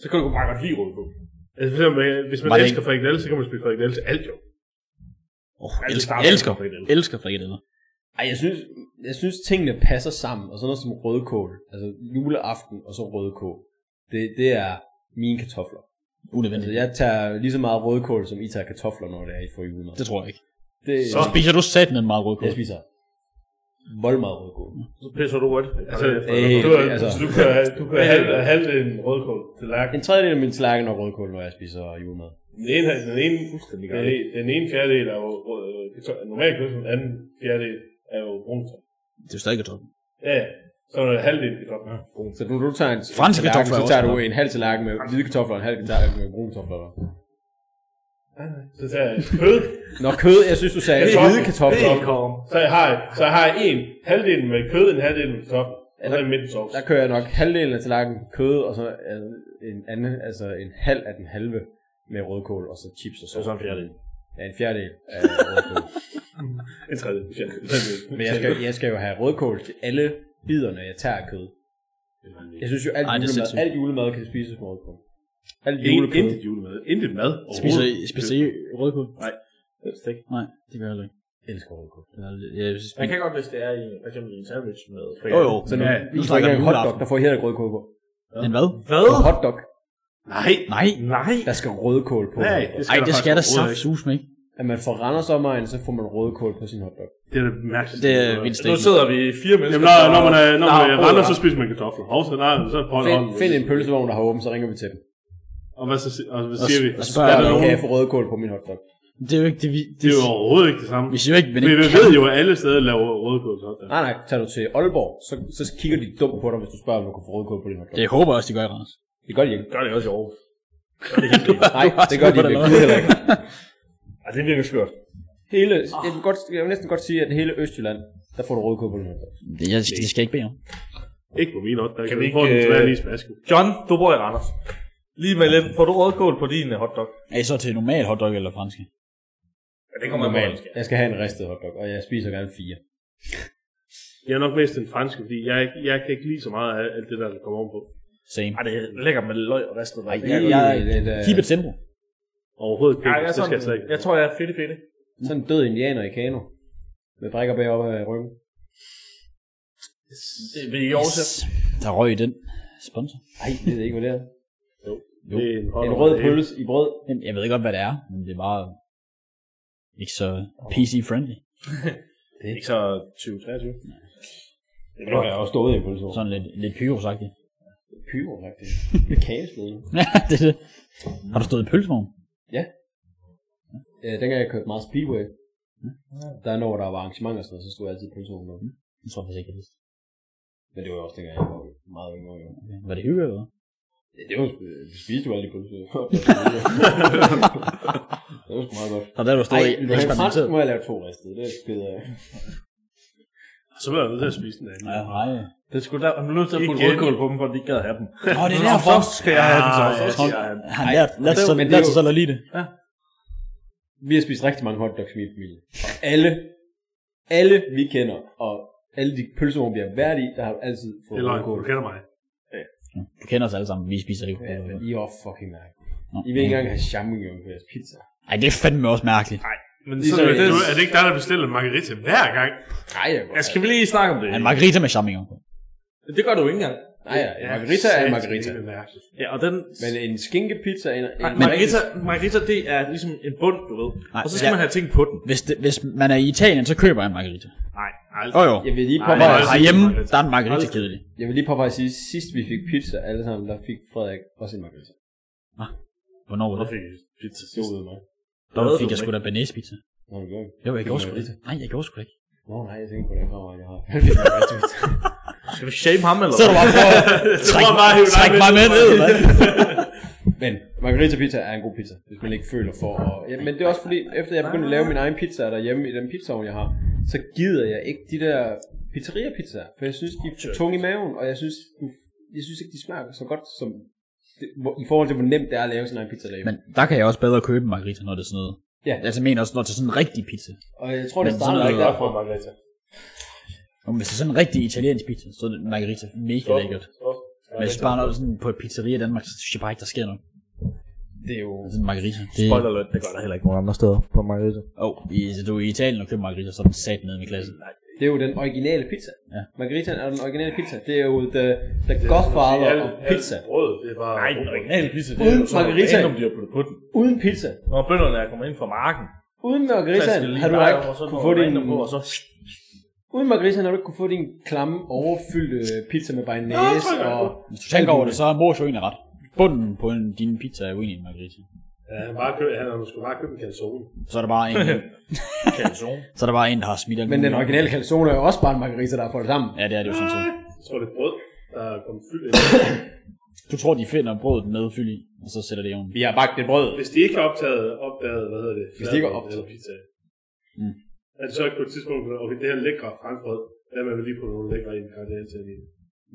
F: Så kan du bare godt lide rødkål.
G: Altså, for eksempel, øh, hvis man
B: Var det
G: elsker frikadelle, så kan man spise frikadelle til alt jo.
B: Åh,
F: det
G: Altså,
B: elsker,
F: starter
B: elsker,
F: med frikadeller.
B: elsker frikadeller.
E: Ej, jeg synes, jeg synes tingene passer sammen, og sådan noget som rødkål, altså juleaften og så rødkål, det, det er mine kartofler. Altså,
B: Unødvendigt.
E: jeg tager lige så meget rødkål, som I tager kartofler, når det er, I får julemad.
B: Det tror jeg ikke.
E: Det,
B: Så spiser du satan en meget rødkål.
E: jeg spiser vold meget rødkål.
F: Så pisser du rødt.
G: Altså,
E: Øh,
G: du,
E: det-
G: altså,
E: altså-
G: du kan, du kan halve, halve en rødkål til lærken.
E: En tredjedel af min tallerken er rødkål, når jeg spiser julemad.
G: Den ene, den ene, den ene, den ene fjerdedel er jo øh, kartoffel- normal kød, den anden fjerdedel er jo brunsag.
B: Det er jo stadig kartofler.
G: Ja, ja. så er der halvdelen kartofler.
E: Så når du tager en
B: Franske
E: tallerken,
B: kartofler er
E: så
B: også
E: tager du
B: godt.
E: en halv tallerken med hvide kartofler og en halv tallerken med brune kartofler. hva'?
G: Så tager jeg kød,
E: Nå, kød, jeg synes, du sagde
G: Kartofler.
E: hvide kartofler.
G: så jeg har, så jeg har en halvdelen med kød, en halvdelen med kartofler. Og så er midten sovs.
E: Der kører jeg nok halvdelen af tallerkenen kød, og så altså, en anden, altså en halv af den halve med rødkål, og så chips og så.
F: Så en fjerdedel.
E: Ja, en fjerdedel af rødkål.
G: En tredjedel. en fjerdedel.
E: Men jeg skal, jeg skal jo have rødkål til alle biderne, jeg tager af kød. Jeg synes jo, alt
B: Ej, det er
E: julemad,
B: sindssygt.
E: alt julemad kan spises med rødkål. Alt
G: Ingen,
E: julepød.
G: intet julemad. Intet mad.
B: Spiser I,
G: overhovedet.
B: spiser I rødkål?
F: Helst ikke.
B: Nej, det gør jeg heller ikke.
E: Jeg elsker rødkål.
B: Jeg, jeg, jeg,
F: Man kan godt, hvis det er i for eksempel i en sandwich med
B: jo, jo.
E: Så nu,
B: Ja,
E: ja,
B: nu
E: nu
B: snakker
E: snakker
B: vi
E: jeg en
B: juleaften.
E: hotdog, der får heller ikke rødkål på.
B: En hvad?
F: Hvad?
E: En hotdog,
G: Nej.
B: Nej,
F: Nej.
E: der skal rødkål på.
G: Nej,
B: nej, det
G: faktisk
B: skal der
G: overhovedet
B: saft sus med, ikke?
E: At man får Randers omegn, så får man rødkål på sin hotdog.
G: ikke. Det er det mærkeligste.
B: Det er vildt
F: Nu
B: statement.
F: sidder vi fire mennesker.
G: Jamen, når, når man er, når man
F: der
G: er
F: brød,
G: render,
F: der.
G: så spiser man kartofler. Hov, så nej, så hold
E: Find,
G: hånden.
E: find en pølsevogn, der har åben, så ringer vi til dem.
G: Og hvad, så, si- og hvad siger vi?
B: og spørger,
G: er
E: Der
G: der
E: kan jeg
G: nogen?
E: få rødkål på min hotdog.
B: Det er jo ikke det, vi...
G: Det er jo overhovedet ikke det samme.
B: Vi siger jo ikke, men
G: Vi
B: ikke
G: ved jo, at alle steder laver rødkål til hotdog.
E: Nej, nej, tager du til Aalborg, så, så kigger de dumt på dig, hvis du spørger, om du kan få rødkål på din hotdog.
B: Det håber jeg også, de gør i Randers.
E: Det gør de ikke.
F: Gør det også i Aarhus.
E: Nej, det gør de ikke. Det er heller ikke.
F: Ej, det virker skørt.
E: Hele, jeg, vil godt, jeg vil næsten godt sige, at hele Østjylland, der får du rødkål på din hotdog.
B: Det, jeg, det skal jeg ikke bede om.
G: Ikke på min hotdog. Kan
F: vi
G: vi få den
F: ikke,
G: tilbage
F: øh,
G: lige i smasken?
F: John, du bor i Randers. Lige med den. Får du rødkål på din øh, hotdog?
B: Er I så til normal hotdog eller franske?
F: Ja, det kommer normalt.
E: Jeg skal have en ristet hotdog, og jeg spiser gerne fire.
G: Jeg er nok mest den franske, fordi jeg, ikke- jeg kan ikke lide så meget af alt det der, der kommer ovenpå.
B: Same.
F: Ej, det er lækkert med løg og ristet. Nej,
B: Jeg, jeg,
E: lidt, øh,
B: keep it simple.
G: Overhovedet ikke.
F: jeg,
G: det
F: er
G: skal jeg slet
F: sådan,
G: ikke.
F: jeg tror, jeg er fedt fedt.
E: Sådan en død indianer i kano. Med brækker bag op af ryggen.
F: Det vil I også.
B: Yes. Der røg i den sponsor.
E: Nej, det er ikke, hvad det er.
B: Jo.
G: Det er en,
E: En rød pølse i brød.
B: Jamen, Jeg ved godt, hvad det er, men det er bare ikke så PC-friendly.
F: Det er ikke så 2023.
E: Det har jeg også stået i en pølse.
B: Sådan lidt, lidt pyro-sagtigt.
E: pyro, faktisk. Med kagesmedien.
B: Ja, det er det. Har du stået i pølsevogn?
E: Øh, dengang jeg kørte meget Speedway, der når der var arrangementer og sådan noget, så stod jeg altid i pølsevognen. derude.
B: Jeg tror faktisk ikke, jeg vidste.
E: Men det var jo også dengang, jeg var meget yngre. Jo.
B: Var det hyggeligt eller hvad?
E: Ja, det var sgu- vi spiste jo alle de pølser. det var sgu meget godt.
B: Og der er du
E: Ej,
B: stået i
E: vil du have en fransk,
B: eksperimenteret.
E: må jeg lave to ristede. Det er jeg sgu ked af.
G: Så var jeg nødt til at spise den anden.
B: Ja, nej.
F: Det skulle der, man er nødt til at putte
G: Igen.
F: rødkål på dem, for at de ikke gad have dem.
B: Nå, det er derfor.
F: skal jeg have den så. Så
B: Nå,
F: skal jeg have den.
B: Han lærte, lærte,
E: det-
B: sig,
E: men det er
B: lærte sig
E: jo-
B: selv at lide det.
E: Vi har spist rigtig mange hotdogs i min familie. Og alle, alle vi kender, og alle de pølsevogn, vi har været i, der har altid fået
G: Det er løgn.
E: rødkål.
G: Du kender mig.
B: Du kender os alle sammen, vi spiser ikke.
E: Ja, men I er også fucking mærkelige.
B: Nå.
E: I vil ikke engang have champignon på jeres pizza.
B: Ej, det er fandme også mærkeligt.
F: Men
E: Ligesom
F: sådan
E: i-
F: er det,
G: Du, er det ikke dig, der bestiller en margarita hver gang?
E: Nej, jeg
F: Ja, skal vi lige snakke om det?
B: En margarita med champignon på.
F: Det gør du ikke engang.
E: Nej, ja, en margarita er en margarita.
G: Det er mærkeligt.
F: Ja, og den...
E: Men en skinkepizza er en...
F: Nej,
E: en
F: margarita, margarita, det er ligesom en bund, du ved.
B: Nej,
F: og så skal
B: ja.
F: man have ting på den.
B: Hvis, det, hvis man er i Italien, så køber jeg en margarita.
G: Nej,
B: Åh
G: aldrig.
B: oh, jo.
E: Jeg vil lige
G: Ej, nej,
E: påpege,
G: nej.
B: Herhjemme, der er en margarita kedelig.
E: jeg vil lige påpege at sige, sidst vi fik pizza alle sammen, der fik Frederik også en margarita.
B: Hvornår var det?
G: pizza
E: Det var ude mig.
B: Der fik jeg sgu da banæspizza.
E: Nå, det gjorde ikke.
B: Jo, jeg gjorde sgu da ikke. Nej, jeg gjorde sgu da ikke.
E: Nå, nej, jeg tænkte på den kammerat, jeg har. Han fik margarita.
F: Skal vi shame ham, eller
B: Så er du bare for træk, træk mig med ned, eller hvad?
E: Men margarita pizza er en god pizza, hvis man ikke føler for at... Ja, men det er også fordi, efter jeg begyndte at lave min egen pizza derhjemme i den pizzaovn, jeg har, så gider jeg ikke de der pizzeria pizzaer, for jeg synes, de er for tunge i maven, og jeg synes, jeg synes ikke, de smager så godt som... Det, hvor, I forhold til, hvor nemt det er at lave sin egen pizza derhjemme.
B: Men der kan jeg også bedre købe en margarita, når det er sådan noget.
E: Ja.
B: Altså, jeg mener også, når det er sådan en rigtig pizza.
E: og jeg tror, det
B: men
E: starter
B: sådan
E: ikke
B: noget-
E: derfra.
G: margarita.
B: Nå, men hvis det er sådan en rigtig italiensk pizza, så er det margarita mega lækkert. Men hvis bare noget sådan på et pizzeria i Danmark, så synes jeg bare ikke, der sker noget.
E: Det er jo...
B: Sådan en margarita. Det...
F: Spoiler alert, det gør der heller ikke nogen andre steder på margarita.
B: Åh, oh, du er i Italien og køber margarita, så er den sat ned i klassen.
E: Det er jo den originale pizza.
B: Ja.
E: Margaritaen er den originale pizza. Det er jo the, the godfather of pizza.
G: Brød, det er bare...
F: Nej, den originale pizza, det
E: Uden
F: er jo sådan noget
E: margarita.
F: random, de har puttet på den.
E: Uden pizza.
F: Når bønderne er kommet ind fra marken,
E: Uden margaritaen
F: klasker de lige
E: har du
F: bare
E: ikke
F: over, så er der
E: kunne få
F: noget
E: din...
F: random på, og så...
E: Uden margaritaen har du ikke kunne få din klamme, overfyldte pizza med bearnaise og...
B: Hvis du tænker over det, så er mors jo egentlig ret. Bunden på en, din pizza er jo egentlig en margarita.
G: Ja, han, bare kø, han, han skulle bare købe en calzone.
B: Så er der bare en,
F: Calzone.
B: så er der bare en der har smidt alt
E: Men den
B: muligt.
E: originale calzone er jo også bare en margarita, der har fået det sammen.
B: Ja, det er det jo sådan set.
G: Jeg tror, det er brød, der er kommet fyldt ind.
B: Du tror, de finder brødet med fyld i, og så sætter det i ovnen.
E: Vi har bagt et brød.
G: Hvis de ikke har optaget, opdaget, hvad hedder det?
E: Hvis de ikke har
G: fladbrød eller
E: optaget.
G: pizza.
B: Mm.
G: At så ikke på et tidspunkt, okay, det her lækre frankbrød, lad man vel lige på nogle lækre ingredienser i.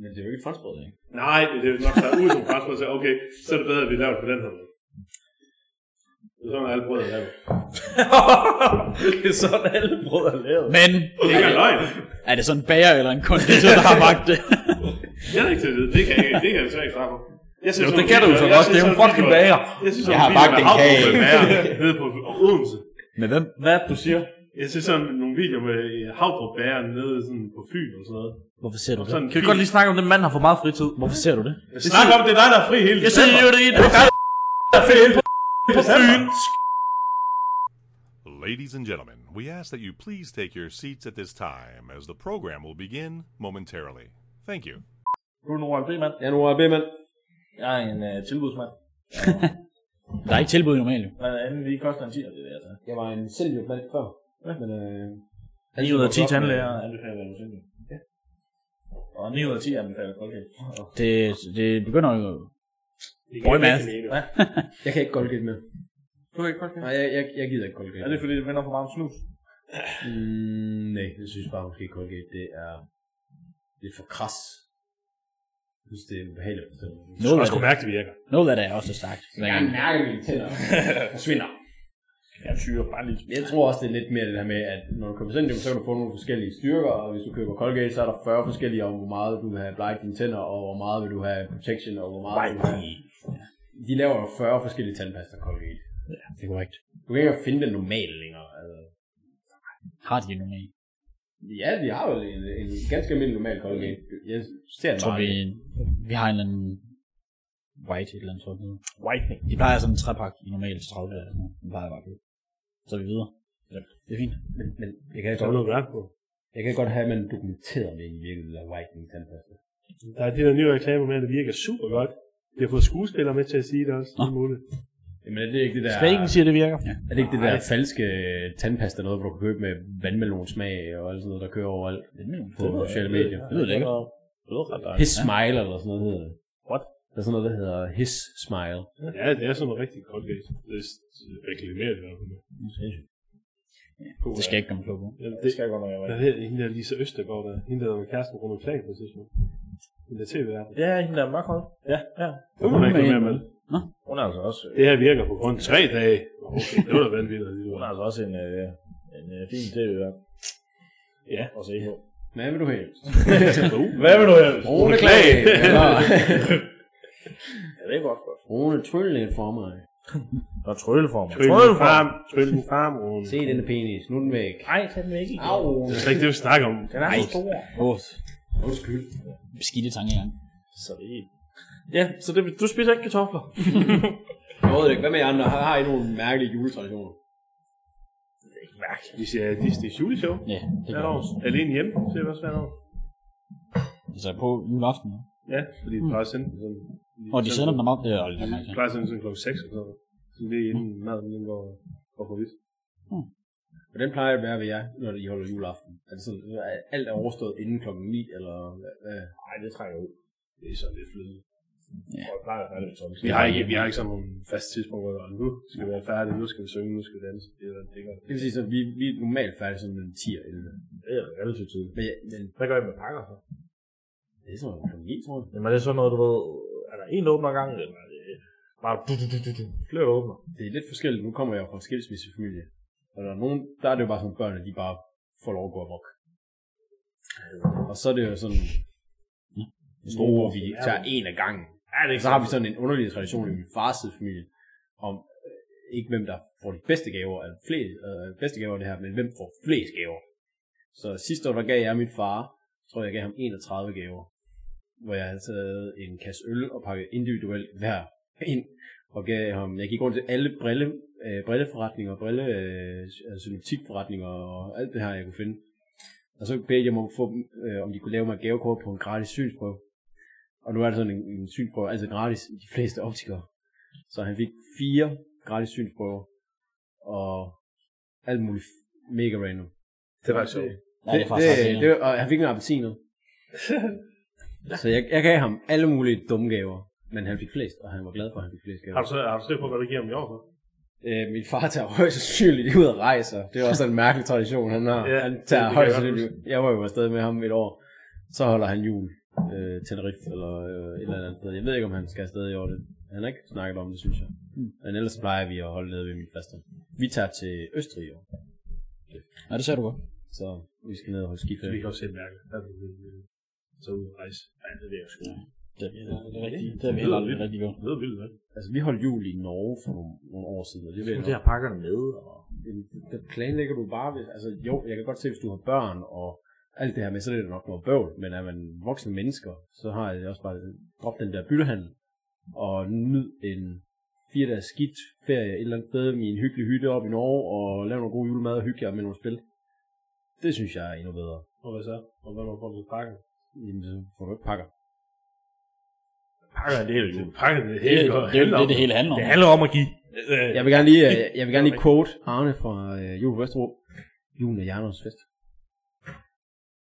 E: Men det er jo ikke et fransk brød, ikke?
G: Nej, men det er nok taget ud som frankbrød, så okay, så er det bedre, at vi laver det på den her måde. Det er sådan, alle brød er lavet.
F: det er sådan, alle brød er lavet.
B: Men
G: Det er ikke engang løgn.
B: er det sådan en bager eller en konditor, der har bagt det?
G: Jeg er ikke til at vide. Det kan jeg, ikke- det kan jeg desværre ikke svare på. Jeg synes,
C: Jo, det kan du jo så godt. Det er jo en fucking bager.
G: Jeg synes,
H: Jeg har bagt en kage.
G: med bager nede på Odense.
B: Med hvem?
C: Hvad er det, du siger?
G: Jeg synes sådan nogle videoer med havdrup bageren nede sådan på Fyn og sådan noget.
B: Hvorfor ser du
G: Sådan
C: Kan vi godt lige snakke om, at den mand har for meget fritid?
B: Hvorfor ser du det?
G: Snak om, det er dig, der er fri hele
C: Jeg siger jo det i det. Jeg er helt på på Fyn.
I: Ladies and gentlemen, we ask that you please take your seats at this time as the program will begin momentarily. Thank you.
C: Du er en OMB, mand.
E: Ja, nu er jeg mand.
C: Jeg er en uh, tilbudsmand.
B: Der er ikke tilbud normalt, jo.
C: Hvad andet lige koster en 10, det er det.
E: Jeg var en selvhjulp mand før. Ja. Men øh,
C: 9 ud af 10 tandlæger anbefaler du single. Og 9 ud af 10 anbefaler Colgate.
B: Det, det begynder jo... Boy, math.
E: jeg kan ikke godt lidt med.
C: Du kan ikke Colgate?
E: Nej, jeg, jeg, jeg gider ikke Colgate.
C: Er det fordi, det vender for meget om snus?
E: Mm, nej, jeg synes bare måske Colgate, det er lidt for kras. Jeg synes, det er en behagelig bestemmelse.
B: Noget
G: Jeg
B: af
G: skulle
B: det,
G: mærke, det virker.
B: noget af det er også stærkt.
E: Jeg mærker mine tænder. forsvinder.
C: Jeg tyrer bare lidt.
E: Jeg tror også, det er lidt mere det her med, at når du køber Zendium, så kan du få nogle forskellige styrker, og hvis du køber Colgate, så er der 40 forskellige om, hvor meget du vil have bleget dine tænder, og hvor meget vil du have protection, og hvor meget vil du have... De laver jo 40 forskellige tandpasta Colgate.
B: Ja, det er korrekt.
E: Du kan ikke engang finde den normale længere. Altså,
B: Har de nogen af?
E: ja, de har jo en, en ganske almindelig normal Colgate. Jeg ser
B: Jeg
E: den
B: tror,
E: bare.
B: vi,
E: ikke.
B: vi har en eller anden white et eller andet sådan noget.
C: Whitening.
B: De plejer sådan en træpak i normalt 30 eller sådan noget. Den plejer bare at købe. Så er vi videre. Ja. Det er fint.
E: Men, men jeg kan godt,
G: noget værk på.
E: jeg kan godt have, at man dokumenterer, hvad egentlig virkede, det der whitening tandpasta.
H: Der er de der nye reklamer med, at det virker super godt. De har fået skuespillere med til at sige det også. Det er muligt.
E: Jamen, er det ikke det der...
D: Spagen siger, det virker. Ja.
E: Er det ikke det der falske øh, tandpasta, noget, hvor du kan købe med vandmelonsmag og alt sådan noget, der kører overalt på sociale medier?
B: Det lyder lækkert.
E: His Smile eller sådan noget hedder det.
C: What?
E: Der er sådan noget, der hedder His Smile.
G: Ja, det er sådan noget rigtig Colgate. Det er reklameret i hvert fald.
B: Det skal jeg ikke komme klog på.
G: Ja, det skal jeg godt nok Hvad hedder hende der Lisa Østergaard der? Hende der var kæresten rundt omkring på et tidspunkt. Hende der tv-verden.
C: Ja, hende der er mørkhåret.
G: Det var der ikke noget mere med.
C: Hun er altså også,
G: Det her virker på grund af tre dage. Okay, det var da vanvittigt. Det
C: hun er
G: var.
C: altså også en, øh, en øh, fin tv-vært. Ja. Og se på.
E: Hvad vil du helst?
G: Hvad vil du have?
E: Rune Klage!
C: Ja, det er godt godt.
E: Rune, tryl lidt for mig.
C: Og trølleform.
G: Tryl den frem. Tryl den frem, Rune.
E: Se denne penis, nu er den væk.
C: Nej, tag den ikke.
E: Au!
G: Det er slet ikke det, vi snakker om.
C: Den er så stor.
B: Åh, beskidte tankegang.
C: Så det er Ja, så det, du spiser ikke kartofler.
E: Jeg ved ikke, hvad med jer andre? Har har I nogle mærkelige juletraditioner?
G: Vi siger Disney's juleshow.
B: Ja, det
G: Hvert
B: gør
G: år. Alene hjemme, ser vi også hvert år.
B: det. Altså på juleaften. ja.
G: Ja, fordi det plejer at sende den sådan.
B: Mm. Og de sender dem op. altså. Det er aldrig
G: Det plejer at sende sådan klokken 6 eller sådan noget. Så lige inden
B: Mm.
G: maden den går, går på vidt.
E: Hvordan plejer det at være ved jer, når I holder juleaften? Er det sådan, at alt er overstået inden klokken 9, eller hvad? hvad?
C: Nej, det trækker ud.
G: Det er sådan lidt flydende.
C: Og jeg plejer at være lidt sådan.
G: Vi har ikke, vi har ikke sådan nogle faste tidspunkter, hvor nu skal vi være færdige, nu skal vi synge, nu skal vi danse. Det er da- det er godt.
E: Det vil sige, at vi, vi er normalt færdige sådan mellem 10 og 11.
C: Det er relativt tidligt.
E: Men, men
C: Hvad gør I med pakker så?
E: det er sådan noget klokken 9, tror jeg.
C: Jamen er det sådan noget, du ved, er der en åbner gang, eller er det bare du, du, du, du, du, flere der åbner?
E: det er lidt forskelligt. Nu kommer jeg jo fra en skilsmissefamilie. Og der er nogen, der er det jo bare sådan, børnene de bare får lov at gå amok. Og så er det jo sådan, store, hvor vi tager en af gangen.
C: Er det
E: Og
C: ikke
E: så har vi sådan en underlig tradition i min fars side familie, om øh, ikke hvem der får de bedste gaver, eller flest, øh, bedste gaver af det her, men hvem får flest gaver. Så sidste år, der gav jeg min far, tror jeg, jeg gav ham 31 gaver, hvor jeg havde taget en kasse øl og pakket individuelt hver ind, og gav ham, jeg gik rundt til alle brille, øh, brilleforretninger, brille, øh, synoptikforretninger og alt det her, jeg kunne finde. Og så bedte jeg dem om, at få, dem, øh, om de kunne lave mig et gavekort på en gratis synsprøve. Og nu er det sådan en, en synsprøve, altså gratis i de fleste optikere. Så han fik fire gratis synsprøver, og alt muligt f- mega random.
G: Det var sjovt.
B: Ja,
E: det,
B: det er faktisk ret
E: det,
B: grineren.
E: det, og han fik en appelsiner. så jeg, jeg gav ham alle mulige dumme gaver, men han fik flest, og han var glad for, at han fik flest gaver.
G: Har du så, har du styr på, hvad der giver om i år så?
E: Øh, min far tager højst sandsynligt ud og rejser. Det er også en mærkelig tradition, han har.
G: Ja,
E: Ja, han
G: det- det
E: tager
G: kan
E: højst
G: jeg godt
E: sandsynligt ud. Jeg var jo afsted med ham et år. Så holder han jul. Øh, Tenerife eller øh, et eller andet sted. Jeg ved ikke, om han skal afsted i år. Det. Han har ikke snakket om det, synes jeg. Men ellers plejer vi at holde nede ved min faste. Vi tager til Østrig i år.
B: Ja, det ser du godt.
E: Så vi skal ned og holde skiferie.
G: Vi kan også selv mærke, at vi vil, øh, tage ud og rejse. Ja, det er jo sgu.
B: Det, det, det er rigtigt. Det er vel aldrig rigtig godt.
F: Det er vildt, hvad?
E: Altså, vi holdt jul i Norge for nogle, nogle år siden, og det ved jeg
C: Det
E: nok.
C: har pakkerne med, og
E: Jamen, det planlægger du bare. Ved, altså, jo, jeg kan godt se, hvis du har børn og alt det her med, så er det nok noget bøvl. Men er man voksne mennesker, så har jeg også bare drop den der byttehandel og nyd en fire dages skidt ferie et eller andet sted i en hyggelig hytte op i Norge og lave nogle gode julemad og hygge jer med nogle spil. Det synes jeg er endnu bedre.
H: Og hvad så? Og hvad får du pakken?
E: Jamen, så får du ikke pakker.
F: Pakker en del af julen.
H: Pakken det
B: Det,
H: hele.
B: det, det, er jo det, det hele handler om.
F: Det handler om at give. Øh,
E: Jeg vil gerne lige, øh, jeg vil gerne lige quote Arne fra øh, Jul på Vesterbro. Julen er Jernovs fest.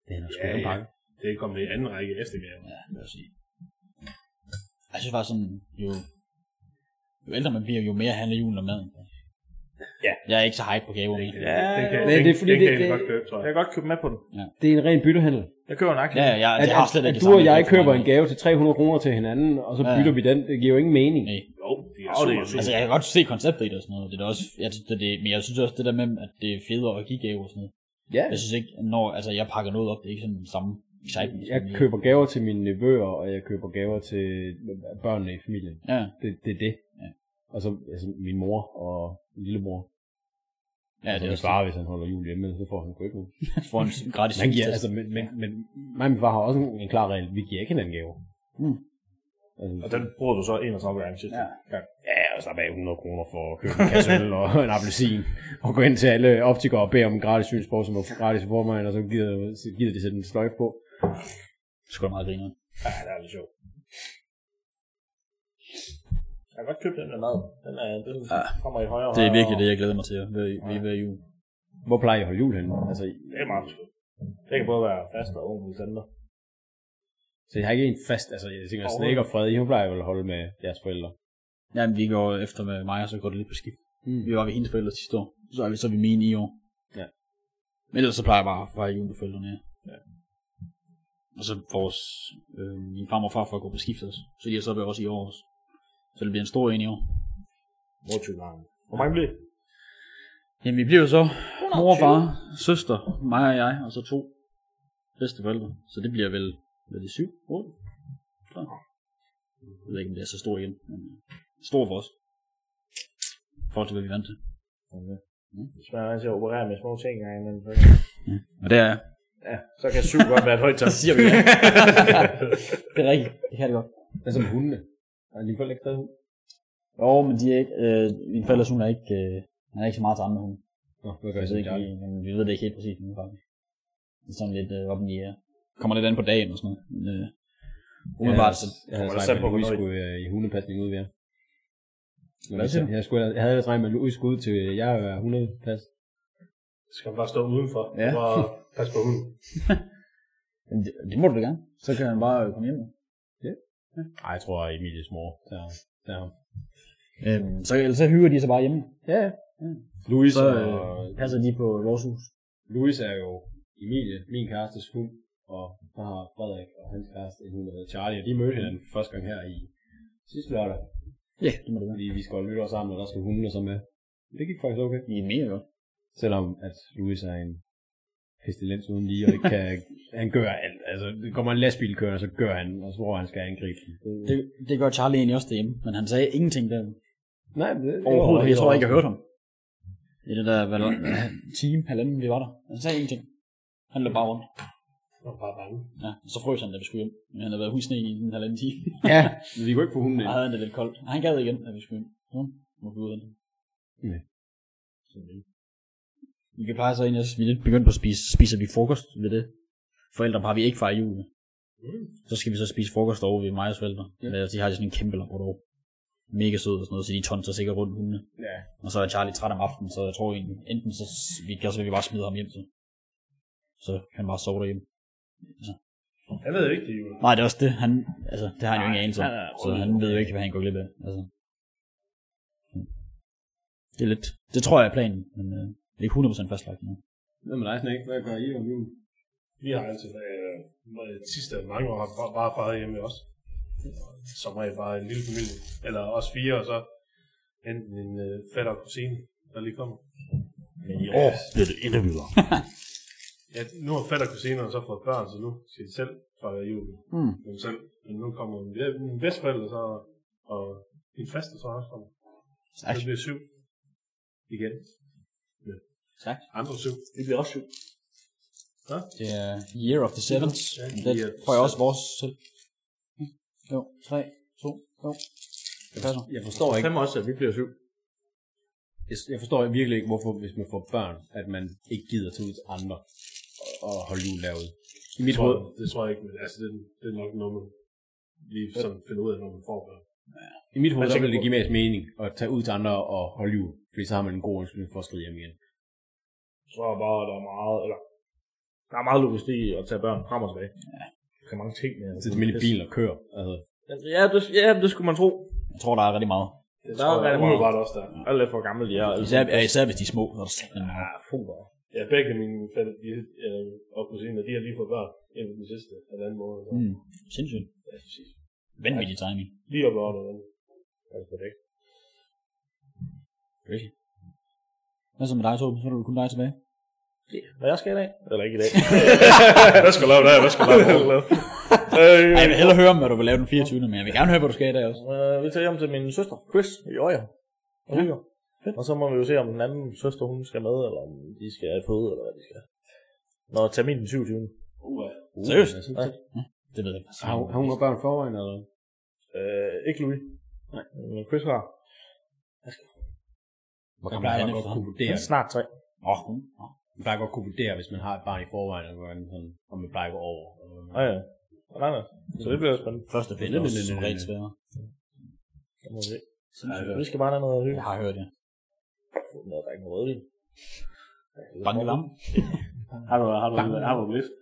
E: Det er nok sgu
H: Ja,
E: ikke en
H: ja.
E: pakke.
H: Det er kommet i anden række eftergave.
B: Ja, det vil jeg sige. Jeg synes bare sådan, jo, jo ældre man bliver, jo mere handler julen om maden. Ja. Jeg er ikke så hype på gaver. men-
H: Den kan,
E: men
H: den,
E: det er fordi,
H: den
E: det-
H: kan jeg
E: det-
H: godt købe, tror
F: Jeg
H: jeg.
F: kan godt købe med på den.
E: Det er en ren byttehandel.
F: Jeg køber en aktie.
B: Ja, ja, jeg,
E: at,
B: det har slet
E: at,
B: ikke
E: at
B: det
E: du og
B: samme
E: jeg
B: effekt for
E: køber
B: mig.
E: en gave til 300 kroner til hinanden, og så
B: Ja.
E: bytter vi den. Det giver jo ingen mening.
B: Nej.
F: Jo, det er
H: Jo, det er
F: super.
H: super.
B: Altså, jeg kan godt se konceptet i det og sådan noget. Det er da også, jeg, synes, det, det, men jeg synes også, det der med, at det er federe at give gaver og sådan noget.
E: Ja.
B: Jeg synes ikke, når altså, jeg pakker noget op, det er ikke sådan den samme excitement.
E: Jeg
B: som i-
E: køber gaver til mine nevøer, og jeg køber gaver til øh, børnene i familien.
B: Ja,
E: Det, det er det.
B: Ja.
E: Og så altså, min mor og min lillemor.
B: ja
E: Ja,
B: det er også
E: far, hvis han holder jul hjemme, så får han jo ikke noget.
B: for en gratis
E: Man giver,
B: fest.
E: altså, men, men, men mig og min far har også en, en klar regel. Vi giver ikke hinanden gaver.
B: Mm.
E: Altså,
F: Og den bruger du så 31 gange sidst.
B: Ja.
E: ja, og slap af 100 kroner for at købe en kasse øl og en appelsin, og gå ind til alle optikere og bede om en gratis synsprog, som var gratis for mig, og så gider, gider de sætte en sløjf på.
B: Det er sgu da meget griner.
F: Ja, det er lidt sjovt. Jeg kan godt købe den der mad. Den, er, den
B: Ja.
F: kommer i højere og
B: Det er
F: højere,
B: virkelig
F: og-
B: det, jeg glæder mig til ved, ved, ved jul.
E: Hvor plejer I at holde jul henne? Altså,
F: Det er meget forskelligt. Det kan både være fast og ung i center.
E: så jeg har ikke en fast, altså jeg tænker, Snake og Fred, I hun plejer vel at holde med jeres forældre.
B: Jamen, vi går efter med mig, og så går det lidt på skift.
E: Mm.
B: Vi var ved hendes forældre sidste år, så er vi, så er vi mine i år.
E: Ja.
B: Men ellers så plejer jeg bare at fejre jul med forældrene, ja. Og så vores, øh, min farmor og far får gå på skift også, så de har så været også i år også. Så det bliver en stor en i år.
F: Hvor mange bliver det?
B: Jamen, vi bliver jo så mor, far, søster, mig og jeg, og så to bedste forældre. Så det bliver vel, hvad er det, syv, otte? Tror jeg. Jeg ved ikke, om det er så stor igen, men øh, stor for os. I forhold til, hvad vi er vant til.
F: Hvis man er til at operere med små ting engang imellem, så,
B: Og det er jeg.
F: ja, så kan syv godt være et højt tal.
B: siger vi ja. det er rigtigt. Det kan det godt.
E: Hvad som hundene? Har lige forældre ikke taget hund?
B: Jo, men de er ikke... Øh, min forældres hund er ikke... Øh, han er ikke så meget til andre hunde.
E: Nå, hvad gør
B: Jeg
E: I så
B: ved
E: ikke?
B: ikke, lige- men vi ved det ikke helt præcis nu, faktisk. Det er sådan lidt øh, op i air. Kommer lidt an på dagen og sådan noget. Men, øh, umiddelbart, så
E: Jeg havde
F: Kommer der
E: snakket
F: selv
E: med,
F: på,
E: at Louis
F: hvornår I-
E: skulle øh, i hundepasning ude ved jer.
B: Hvad siger du?
E: Jeg, skulle, jeg havde ellers regnet med, at Louis skulle ud til øh, jer og være hundepas.
H: Så skal man bare stå udenfor
B: Ja.
H: og bare passe på hunden.
B: men det, det, må du da gerne. Så kan han bare øh, komme hjem.
E: Nej, jeg tror, at Emilies mor tager, tager ham.
B: Øhm, så, ellers så hyrer de sig bare hjemme.
E: Ja, ja. Louis
B: Så
E: og...
B: øh, passer de på vores hus.
E: Louis er jo Emilie, min kærestes hund, og så har Frederik og hans kæreste en hund, der hedder Charlie, og de mødte hinanden for første gang her i sidste lørdag,
B: Ja, det må det være.
E: fordi vi skal holde nytår sammen, og der skal hundene så med. Det gik faktisk okay.
B: De er mega godt.
E: Selvom at Louis er en pestilens uden lige, og ikke kan, han gør alt. Altså, det kommer en lastbil kørende, og så gør han, og så tror han, han skal angribe den.
B: Det, det gør Charlie egentlig også derhjemme, men han sagde ingenting der.
E: Nej, men det, det
B: Overhovedet, jeg tror ikke, jeg
E: hørt.
B: hørte ham. I det der, hvad der, time, halvanden, vi var der. Han sagde ingenting. Han løb bare rundt.
H: Og bare bange.
B: Ja, og så frøs han, da vi skulle hjem. Men han havde været husne i en halvanden time.
E: Ja, men vi kunne ikke få hunden
B: Og
E: ind.
B: havde han det lidt koldt. Og han gad igen, da vi skulle hjem. Så må vi ud af det.
E: Ja.
B: Sådan det. Vi kan pleje så egentlig også, vi er lidt begyndt på at spise, spiser vi frokost ved det. Forældre har vi ikke fejret jul. med.
E: Mm.
B: Så skal vi så spise frokost over ved mig og forældre. Ja. De har sådan en kæmpe labrador. Mega sød og sådan noget, så de tonser sikkert rundt hundene.
E: Ja.
B: Og så er Charlie træt om aftenen, så jeg tror egentlig, enten så s- vi kan så vil vi bare smide ham hjem til. Så kan han bare sove derhjemme.
H: Han ved jo ikke, det er jul.
B: Nej, det er også det. Han, altså, det har han jo ingen anelse om.
H: han er-
B: Så han ved jo ikke, hvad han går glip af. Altså. Hmm. Det er lidt... Det tror jeg er planen, men øh, det er ikke 100% fastlagt nu.
E: Hvad med dig, Snake? Hvad gør I om julen?
H: Vi har altid, øh, med de sidste mange år, har bare, bare fejret hjemme også. Som regel bare en lille familie. Eller os fire, og så enten en øh, fætter og kusine, der lige kommer.
F: Men i år bliver det endnu videre.
H: Ja, nu har fætter og kusiner så fået børn, så nu skal de selv fejre jul.
B: Mm.
H: Dem selv. Men nu kommer ja, mine bedsteforældre så, og min faste så også kommer. Så
B: Ej.
H: det bliver syv. Igen. Men
B: Tak.
H: Andre syv.
C: Det bliver også sygt.
B: Det er Year of the Sevens.
H: Ja,
B: Det
H: Year of
B: får jeg
H: the
B: også vores selv. Jo, 3, 2, jo. Det passer.
E: Jeg forstår ikke,
F: Fem også, at vi bliver syv.
E: jeg, jeg forstår virkelig ikke, hvorfor, hvis man får børn, at man ikke gider tage ud til andre og- og holde jul derude. I mit
H: Tror,
E: hoved,
H: det tror jeg ikke, men altså, det, det er nok noget, man lige sådan finder ud af, når man får børn.
E: i mit hoved
H: Jeg
E: der
H: tænker
E: ville det
H: på-
E: give mest mening at tage ud til andre og holde jul, fordi så har man en god undskyldning for at skride hjem igen.
F: Jeg tror bare, at der er meget, eller der er meget logistik i at tage børn frem og tilbage. Ja. Der kan mange ting med.
E: Så det er min bil og kører. Altså,
F: Ja, det, ja, det skulle man tro.
B: Jeg tror, der er rigtig meget.
F: Det der er
H: jeg
F: rigtig
H: umiddelbart også der.
F: Alt lidt for gammel, de er. Altså,
B: Især, ja, især hvis de er små. Så er der sådan
F: ja,
B: meget.
F: fuld bare.
H: Ja, begge mine fætter, de, øh, og kusiner, de har lige fået børn inden for den sidste halvanden måned. Så.
B: Mm. Sindssygt.
H: Ja, præcis.
B: Vanvittig timing.
F: Mm.
H: Lige op og under den. Altså, det er ikke.
B: Hvad så med dig, Torben? Så er det kun dig tilbage.
F: Hvad jeg skal i dag? Eller ikke i dag.
G: Hvad skal du lave der? Hvad skal du lave? der?
B: Ej, jeg vil hellere høre om, hvad du vil lave den 24. Men jeg vil gerne høre, hvad du skal i dag også.
F: Øh, vi tager hjem til min søster, Chris, i Øjer. Og hygger. Og så må vi jo se, om den anden søster, hun skal med, eller om de skal føde, eller hvad de skal. Når terminen den 27.
B: Seriøst?
F: Ja.
B: Det ved jeg ikke.
E: uh, altså, har, har hun har børn forvejen eller hvad?
F: Øh, ikke Louis. Nej. Men Chris har
B: Hvor
E: Jeg
B: gammel er
E: plejer
B: han
E: godt
B: efter?
E: kunne vurdere,
F: snart tre.
B: Åh, hun. Nå.
E: jeg plejer godt kunne vurdere, hvis man har et barn i forvejen, eller hvordan sådan, om man plejer at gå over. eller hvordan man-
F: Ja, ja. Nej, nej. Så det bliver spændende.
B: Første
E: Det
B: billede
E: er
B: er også
E: lidt-
B: som
E: lidt-
B: regel
E: lidt-
B: sværere.
F: Det må vi se. Vi skal bare have noget at hygge.
B: Jeg har hørt det.
F: Noget, der er ikke noget rødvin.
B: Banke lam.
H: Har du, har du, har du lift?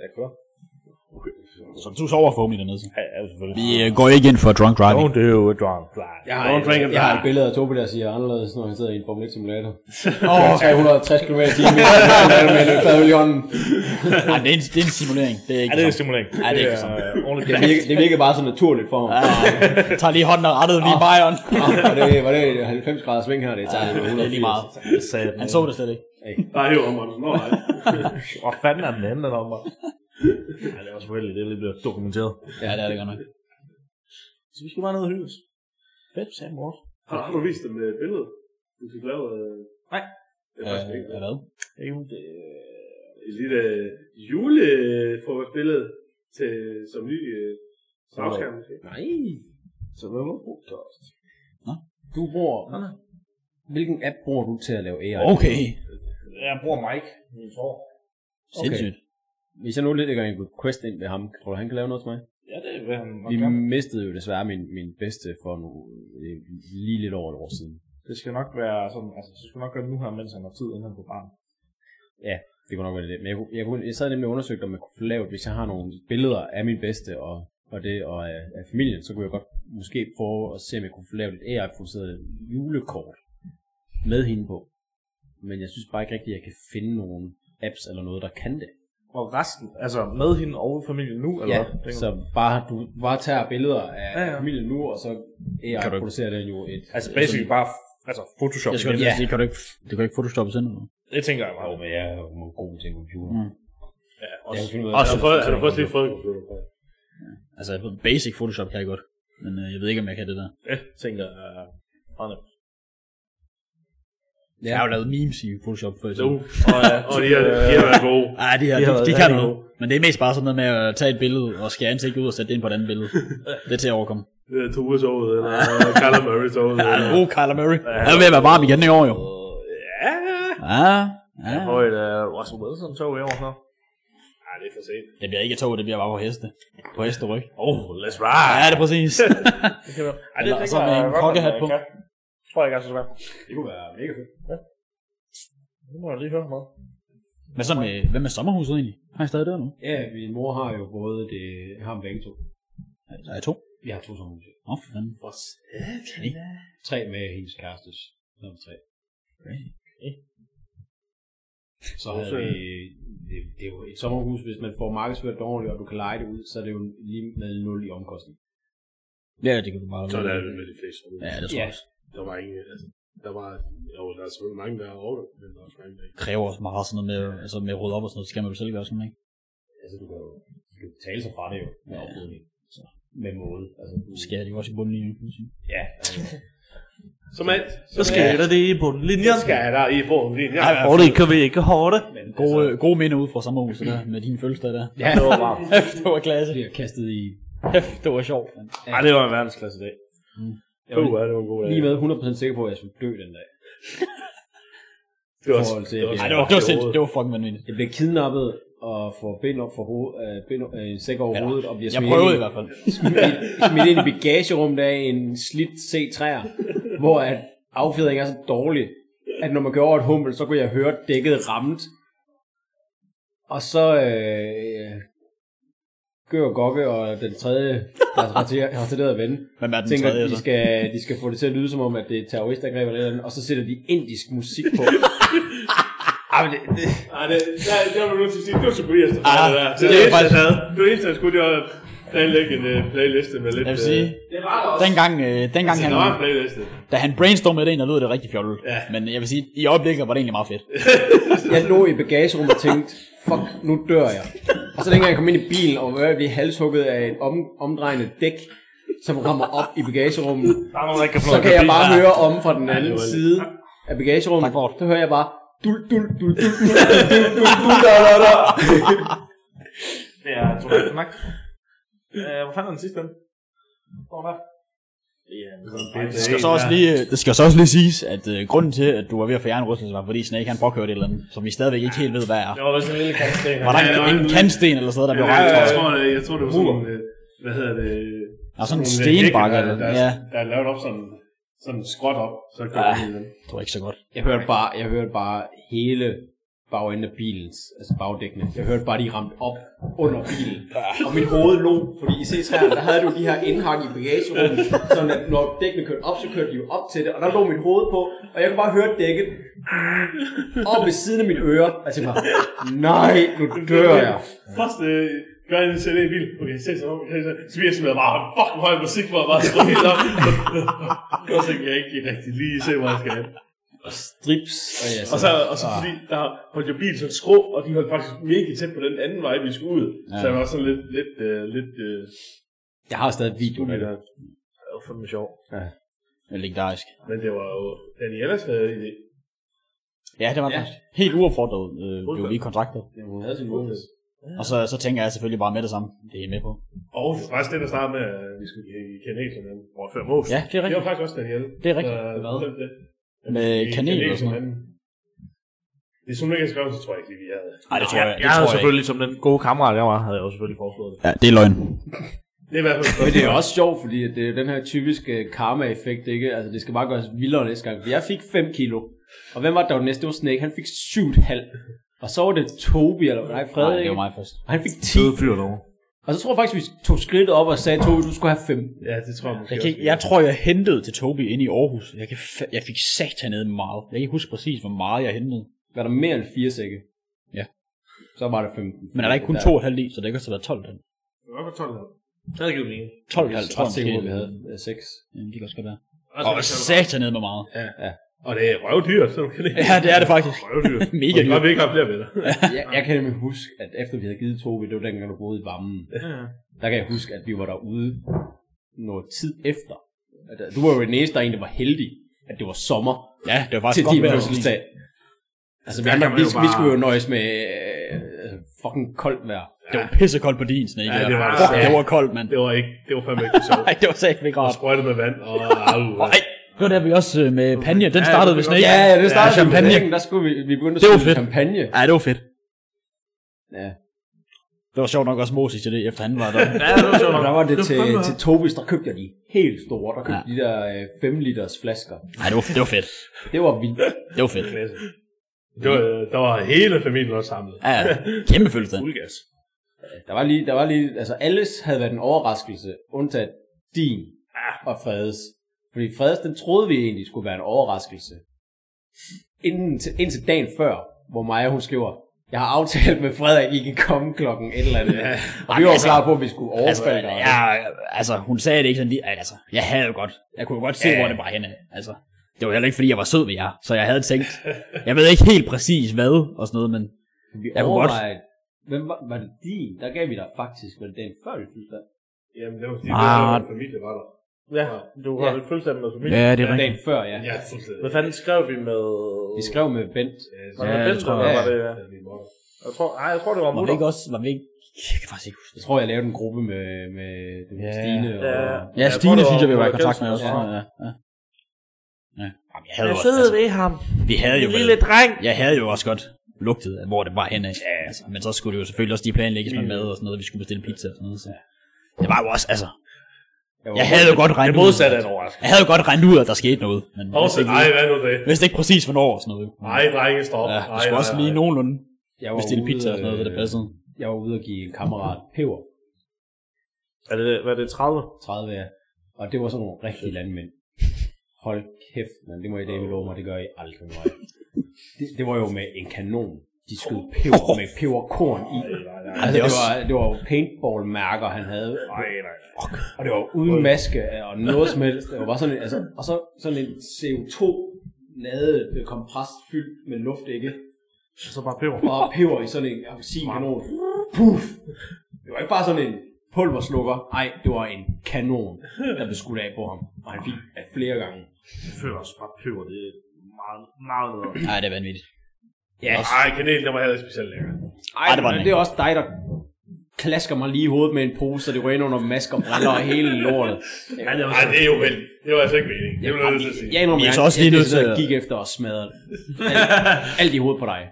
F: Ja, klar.
B: Så du sover forhåbentlig dernede. så.
F: Ja, ja, selvfølgelig.
B: Vi øh, går ikke ind for drunk driving.
F: Don't do a drunk drive.
E: Jeg har,
H: Don't drink
E: et,
H: and
E: jeg har
H: drive.
E: et billede af Tobi, der siger anderledes, når han sidder i en Formel 1 simulator.
B: Åh,
E: 360 km i timen, med en fadøl i hånden.
B: Ej, det, er en, det er en simulering. Det er
F: Ja,
B: ikke
F: det
B: det
F: er stimulering.
B: Ja, det er ikke sådan.
F: Øh, ordentligt
E: Det
F: knæk.
E: virker, det virker bare så naturligt for ham.
B: Ah. Jeg tager lige hånden og rettet lige i bajeren.
E: Var det, var det 90 grader sving her, det tager jeg
B: Ah, Det er lige meget.
F: Sagde den.
B: Han så det slet ikke.
H: Nej, jo, om man. Nå, nej.
F: Hvor fanden er den anden, den om? Ja, det er også forældigt, det er lige blevet dokumenteret.
B: Ja, det er det godt nok.
F: Så vi skal bare ned og hygge os. Fedt, sagde mor.
H: Har, har du vist dem med billedet? Du fik lavet... Øh...
F: Nej.
H: Det er faktisk ikke. Øh,
B: Ja, øh, hvad?
F: Jo, det...
H: Et lille julefrokostbillede til, som ny øh, slagskærm. måske.
E: Nej,
F: Så hvad var podcast?
E: du bruger... Hvilken app bruger du til at lave AI?
B: Okay.
F: Jeg bruger Mike, min far.
B: Sindssygt.
E: Hvis jeg nu lidt lægger en request ind ved ham, tror du, han kan lave noget til mig?
F: Ja, det er, hvad han nok
E: Vi
F: kan.
E: mistede jo desværre min, min bedste for nu, øh, lige lidt over et år siden.
F: Det skal nok være sådan, altså, det skal nok gøre det nu her, mens han har tid, inden han på barn.
E: Det kunne nok være det. Men jeg, kunne- jeg, kunne, jeg sad nemlig og undersøgte, om jeg kunne få lavet, hvis jeg har nogle billeder af min bedste og, og det og af, af familien, så kunne jeg godt måske prøve at se, om jeg kunne få lavet et AI-produceret julekort med hende på. Men jeg synes bare ikke rigtigt, at jeg kan finde nogen apps eller noget, der kan det.
F: Og resten, altså med hende og familien nu, eller
E: Ja,
F: hvad? Tænker
E: så
F: du?
E: bare, du bare tager billeder af
F: Ja,
E: ja,
F: ja.
E: ja. familien nu, og så AI
B: Kan du ikke-
E: producerer den jo et...
F: Altså basically bare, f- altså Photoshop.
B: Ligesom- Jeg skal
F: igen.
B: lige sige, kan du ikke, det kan du ikke photoshoppe sådan noget.
F: Det tænker jeg
E: Jo,
F: meget.
E: men jeg er jo nogle gode ting på computer.
B: Mm.
E: Ja, også, jeg
H: Har du fået- Har du først lige fået en computer?
B: Altså, basic Photoshop kan jeg godt. Men øh, jeg ved ikke, om jeg kan det der.
F: Ja, tænker jeg. Uh,
B: Jeg har jo lavet memes i Photoshop før. i
H: Jo,
B: tiden.
H: og, og de har
F: øh,
H: de har været gode.
B: Ej, de, her,
F: Det
B: de,
F: har
B: de,
F: været
B: kan
F: rigtig
B: noget. Men det er mest bare sådan noget med at tage et billede og skære ansigt ud og sætte det ind på et andet billede. det er til at overkomme.
H: Det er Tove sovet, eller Carla Murray sovet.
B: Ja, oh, Kyler Murray. Han er ved at være varm igen i år, jo.
H: Ja,
B: Ja, ja.
F: Jeg får et uh, Russell Wilson tog i år så.
H: Ej, det er for sent.
B: Det bliver ikke et tog, det bliver bare på heste. På hesteryg.
F: Oh, let's ride!
B: Ja, det er præcis.
F: Det kan være. øh, Ej,
B: Eller så altså med en kokkehat på.
F: Jeg tror jeg altså ikke er så svært.
H: Det kunne være mega fedt.
F: Nu må jeg lige høre meget.
B: Hvad så med, hvad med sommerhuset egentlig? Har I stadig det nu?
E: Ja, min mor har jo både det, har dem begge to.
B: Der Altså, er to.
E: Vi har to sommerhuse.
B: Åh, oh, for fanden.
E: Tre med hendes kærestes. Så er vi tre.
B: Okay.
E: Så havde vi, det, det er jo et sommerhus, hvis man får markedsført det ordentligt, og du kan lege det ud, så er det jo lige med nul i omkostning.
B: Ja, det kan du bare...
H: Så er det med de fleste.
B: Ja, det tror jeg
E: Mm.
H: Der
E: Ja.
B: også.
H: var ingen, altså, der var, jo, der er selvfølgelig mange, der har overløbet, men der er også mange, der ikke.
B: kræver også meget sådan noget med, altså med at rydde op og sådan noget, det skal man jo selv gøre sådan, ikke?
E: Altså, du kan jo, du du kan tale sig fra det jo, med ja. oprydning. Så, med måde. Altså, du,
B: Skærer de jo også i bundlinjen, kan man sige.
E: ja, altså,
G: Som alt.
F: Så skal der det i bundlinjen.
G: skal jeg der i bogen din. Ja,
F: Og det kan vi ikke hårde.
B: Gode, altså, gode minder ud fra sommerhuset der, med dine fødselsdag der.
E: ja, det var varmt.
B: Hæft, det var klasse.
E: Bliver kastet i
B: Hæft, det var sjovt. mand.
F: Nej, det var en verdensklasse dag.
E: jeg
F: Puh,
E: var
F: ja, det var en god dag.
E: lige været 100% sikker på, at jeg skulle dø den dag.
F: Det var,
E: forhold til, at
B: Ej,
E: jeg,
B: det var, det var, sindssygt, det var fucking vanvittigt.
E: jeg bliver kidnappet og får ben op for hoved, øh, ben, øh, en sæk over hovedet og bliver
B: Jeg
E: smidt
B: prøvede
E: ind
B: i hvert fald.
E: smidt ind i bagagerummet af en slidt C3'er, hvor at affjedringen er så dårlig, at når man kører over et hummel, så kunne jeg høre dækket ramt. Og så øh, gør Gokke og den tredje, deres rater- retarderede ven,
B: Hvem er den
E: tænker,
B: tredje
E: at de
B: så?
E: skal, de skal få det til at lyde som om, at det er et terroristangreb eller et eller andet, og så sætter de indisk musik på. Ej, men det, det,
G: Nej, det, der, der var du nødt til at sige, det var sgu Elias, der
B: Ah,
G: fejlede der.
B: det er
G: det,
B: faktisk-
G: eneste, det var det eneste, han skulle, det var at planlægge en uh, playliste med lidt...
B: Jeg vil sige,
G: det var der også.
B: dengang, øh, dengang
G: Altså,
B: han,
G: der var en playliste.
B: da han brainstormede det ind, der lød det rigtig fjollet.
G: Ja.
B: Men jeg vil sige, i øjeblikket var det egentlig meget fedt.
E: jeg lå i bagagerummet og tænkte, fuck, nu dør jeg. Og så dengang jeg kom ind i bilen, og jeg blev halshugget af et om, omdrejende dæk, som rammer op i bagagerummet, så kan jeg bare høre om fra den anden side af bagagerummet. Så hører jeg bare, dul, dul, dul, dul, dul, dul, dul, dul, dul, da, da, da.
C: Det er Tobias Mack. Øh, Hvor fanden er den sidste den? Hvor der?
B: Det skal, så også lige, det skal så også lige siges, at øh, grunden til, at du var ved at fjerne Rusland, var fordi Snake han påkørte et eller andet, som vi stadigvæk ikke helt ved, hvad er.
F: Det var sådan en lille kantsten.
B: Var der
G: Ja, det var
B: en, en
G: en-
B: kantsten eller sådan noget, der blev ramt?
G: jeg,
B: tror jeg?
G: tror, det, jeg tror, det var sådan nogle, øh, hvad hedder det...
B: Ja, sådan en
G: nogle
B: stenbakke
G: vægge,
B: eller
G: der,
B: ja.
G: der, der er lavet op sådan, sådan skråt op, så kan ja. den.
B: Det var ikke så godt.
E: Jeg hørte bare, jeg hørte bare hele bagenden af bilens, altså bagdækkene. Jeg hørte bare, de ramte op under bilen. Og mit hoved lå, fordi i C3'erne, der havde du de her indhak i bagagerummet, sådan at når dækkene kørte op, så kørte de jo op til det, og der lå mit hoved på, og jeg kunne bare høre dækket op ved siden af mit øre. Og jeg tænkte bare, nej, nu dør jeg.
G: Først øh, gør jeg en CD i bil. Okay, se så om. Så vi smider bare fucking høj musik, hvor jeg bare skruer helt op. og så kan jeg ikke rigtig lige se, hvor jeg skal hen.
E: Strips. Og, jeg
G: Og så, og så fordi der holdt jo bilen sådan skrå, og de holdt faktisk mega tæt på den anden vej, vi skulle ud. Ja. Så jeg var sådan lidt, lidt, øh, lidt øh,
E: jeg har stadig video af
G: ulig
E: det.
G: der.
F: Det var fandme sjovt.
B: Det er legendarisk.
G: Men det var jo Danielas øh, idé.
B: Ja, det var det. faktisk. Helt uaffordret øh, blev vi kontraktet.
E: Hun havde sin modus.
B: Og så, så tænker jeg selvfølgelig bare med det samme. Det er jeg med på.
G: Og det var faktisk det, der startede med, at vi skulle i kineserne. Hvor før Mås.
B: Ja, det er
G: Det
B: rigtigt.
G: var faktisk også Daniel.
B: Det er rigtigt.
G: Øh,
B: Hvad?
G: det- det-
B: Med
G: i
B: kanel og sådan noget.
G: hinanden. Hvis hun ikke havde skrevet, så tror jeg ikke lige, vi havde.
B: Nej, det tror jeg, det
F: Jeg havde
B: tror jeg ikke.
F: selvfølgelig, som den gode kammerat jeg var, havde jeg jo selvfølgelig foreslået det.
B: Ja, det er løgn.
G: Det er i hvert fald
E: Men det er også sjovt, fordi at det er den her typiske karma-effekt, ikke? Altså, det skal bare gøres vildere næste gang. For jeg fik 5 kilo, og hvem var det, der var den næste? Det var Snake. Han fik 7,5. Og så var det Tobi, eller nej,
B: Nej,
E: Frederik.
B: det var
E: ikke?
B: mig først.
E: Og han fik 10.
F: fyr dog.
E: Og så tror jeg faktisk, vi tog skridt op og sagde, Tobi, du skulle have 5.
G: Ja, det tror jeg måske
B: Jeg, kan ikke,
G: også.
B: jeg tror, jeg hentede til Tobi inde i Aarhus. Jeg, kan fa- jeg fik sat hernede meget. Jeg kan ikke huske præcis, hvor meget jeg hentede.
E: Var der mere end 4 sække?
B: Ja.
E: Så var det 15.
B: Men er der ikke kun
E: Der-
B: to og halv i, så det kan så være 12 den.
G: Det var på 12 år.
F: Det havde givet mening.
B: 12
E: Jeg
B: halv
E: er
B: ton.
E: ret sikker på, at vi havde øh, 6.
B: Ja, det kan også godt være.
G: Og
B: Og sat hernede med meget.
G: Og det er røvdyrt, så du kan det.
B: Ja, det er det faktisk.
G: Røvdyrt.
B: Mega
G: Og det var, vi ikke har flere venner.
E: jeg, jeg kan nemlig huske, at efter vi havde givet Tobi, det var dengang, du boede i varmen, der kan jeg huske, at vi var derude noget tid efter. At, øh, Du var jo den eneste, der egentlig var heldig, at det var sommer
B: Ja, det var
E: til
B: faktisk
E: din
B: godt vejr.
E: fødselsdag. Altså, vi, andre, vi, vi skulle jo nøjes med øh, altså, fucking koldt vejr.
B: Det var pissekoldt på din snæk. Ja,
G: det var det.
B: Fuck,
G: Ja.
B: det var koldt, mand.
G: Det var ikke, det var fandme ikke sjovt.
B: Nej, det var sagt ikke
G: Og
B: rart.
G: sprøjtet med vand, og au.
B: Nej, det var der vi også øh, med panje. Den startede ved snæk.
E: Ja, ja, det startede ja,
B: champagne.
E: champagne. Der skulle vi, vi begyndte at
B: Det var
E: spille
B: fedt.
E: champagne.
B: Ja, det var fedt.
E: Ja.
B: Det var sjovt nok også Moses til det, efter han var der.
F: Ja, det var sjovt
E: Og
F: nok.
E: der var det til, til Tobis, der købte jeg de helt store. Der købte
B: Ja.
E: ja. de der 5 liters flasker.
B: Nej, det var, det var fedt.
E: Det var vildt.
B: Det var fedt.
G: Det var, øh, der var hele familien også samlet.
B: Ja, ja. kæmpe fødselsdag.
G: Udgas.
E: Der var lige, der var lige, altså alles havde været en overraskelse, undtagen din
B: Ah.
E: og Fredes. Fordi Fredes, den troede vi egentlig skulle være en overraskelse. Inden til, indtil dagen før, hvor Maja hun skriver, jeg har aftalt med Frederik, I kan komme klokken et eller andet. Ja. Og vi var
B: altså-
E: klar på, at vi skulle
B: Altså,
E: overfalde dig.
B: ja, altså, hun sagde det ikke sådan lige. Altså, jeg havde jo godt. Jeg kunne jo godt se,
G: Ja.
B: hvor det var henne. Altså, det var heller ikke, fordi jeg var sød ved jer. Så jeg havde tænkt, jeg ved ikke helt præcis hvad og sådan noget, men
E: Vi
B: Jeg kunne godt-
E: overvejede Hvem var, var det din? Der gav vi dig faktisk, var det den før din fødselsdag?
G: Jamen, det var fordi,
B: Ah.
G: ah. familie var der.
F: Ja, du har
E: Ja.
F: ja. fuldstændig med familie.
B: Ja, det er
E: Dagen
B: rigtigt.
E: før, ja.
G: Ja, fuldstændig.
F: Hvad fanden skrev vi med...
E: Vi skrev med Bent.
F: Var
B: Ja,
F: det
B: det
F: Bent,
B: tror
F: eller
E: jeg.
F: var det... Jeg tror, nej, jeg tror, det var
B: Var det
F: Mutter.
B: ikke også, var vi ikke... Jeg kan faktisk ikke huske
E: Jeg
B: det.
E: tror, jeg lavede en gruppe med, med yeah. Stine og...
F: Ja,
B: Ja,
F: Jeg tror,
B: Stine
F: det
B: synes jeg, vi var i
F: Frederik
B: kontakt med
F: Jensen,
B: også.
F: der
B: Ja,
F: var-
B: ja. ja. ja. Jamen, jeg havde
F: Jeg
B: jo også,
F: sidder
B: altså,
F: ved ham,
B: vi havde jo
F: den
B: vel,
F: lille dreng.
B: jeg havde jo også godt lugtet, at hvor det var henad. Ja, altså, men så skulle det jo selvfølgelig også lige planlægges
F: Mm.
B: med mad og sådan noget, vi skulle bestille pizza og sådan noget. Så. Det var jo også, altså... Jeg havde jo godt regnet
F: Det modsatte er
B: ud.
F: en overraskelse.
B: Jeg havde jo godt regnet ud, at der skete noget. Men jeg
G: Også,
B: vidste ikke,
G: nej, hvad nu det?
B: jeg vidste ikke præcis, hvornår og sådan noget. jo.
G: Nej, drenge, stop. Nej,
B: Ja, det skulle
G: nej,
B: også
G: nej.
B: lige nogenlunde
E: Jeg var
B: bestille
E: ude,
B: pizza og sådan noget, så det
E: øh,
B: passede.
E: Jeg var ude og give en kammerat peber,
F: Er det, hvad er det, 30?
E: 30 af, og det var sådan nogle rigtige landmænd. Hold kæft, man, det må I da love mig, det gør I aldrig med mig. Det, det var jo med en kanon. De skød peber med peberkorn i. Altså, det, var, det var jo paintball-mærker, han havde. Og det var uden maske øh, og noget som helst. Det var bare sådan en, altså, og så sådan en CO2 nade kompres fyldt øh, med luft, ikke?
F: Så bare peber.
E: Og peber i sådan en appelsinkanon. Puff! Det var ikke bare sådan en pulverslukker. Nej, det var en kanon, der blev skudt af på ham. Og han fik af flere gange.
F: Før også bare peber, det er meget, meget bedre.
B: Nej, det er vanvittigt.
G: Ej, kanel, der var heller ikke specielt lækker.
E: Ej,
B: det var
E: men
B: den
E: det er også dig, der klasker mig lige i hovedet med en pose, så det går ind under masker og briller og hele lortet.
G: Nej, det er jo heldigt. Det var altså ikke meningen. Det var nødt til at sige.
E: Jeg indrømmer,
B: Vi er
E: jeg,
B: så også
E: jeg,
B: lige nødt
E: decideret
B: til at-
E: gik efter og smadrede alt, alt i hovedet på dig.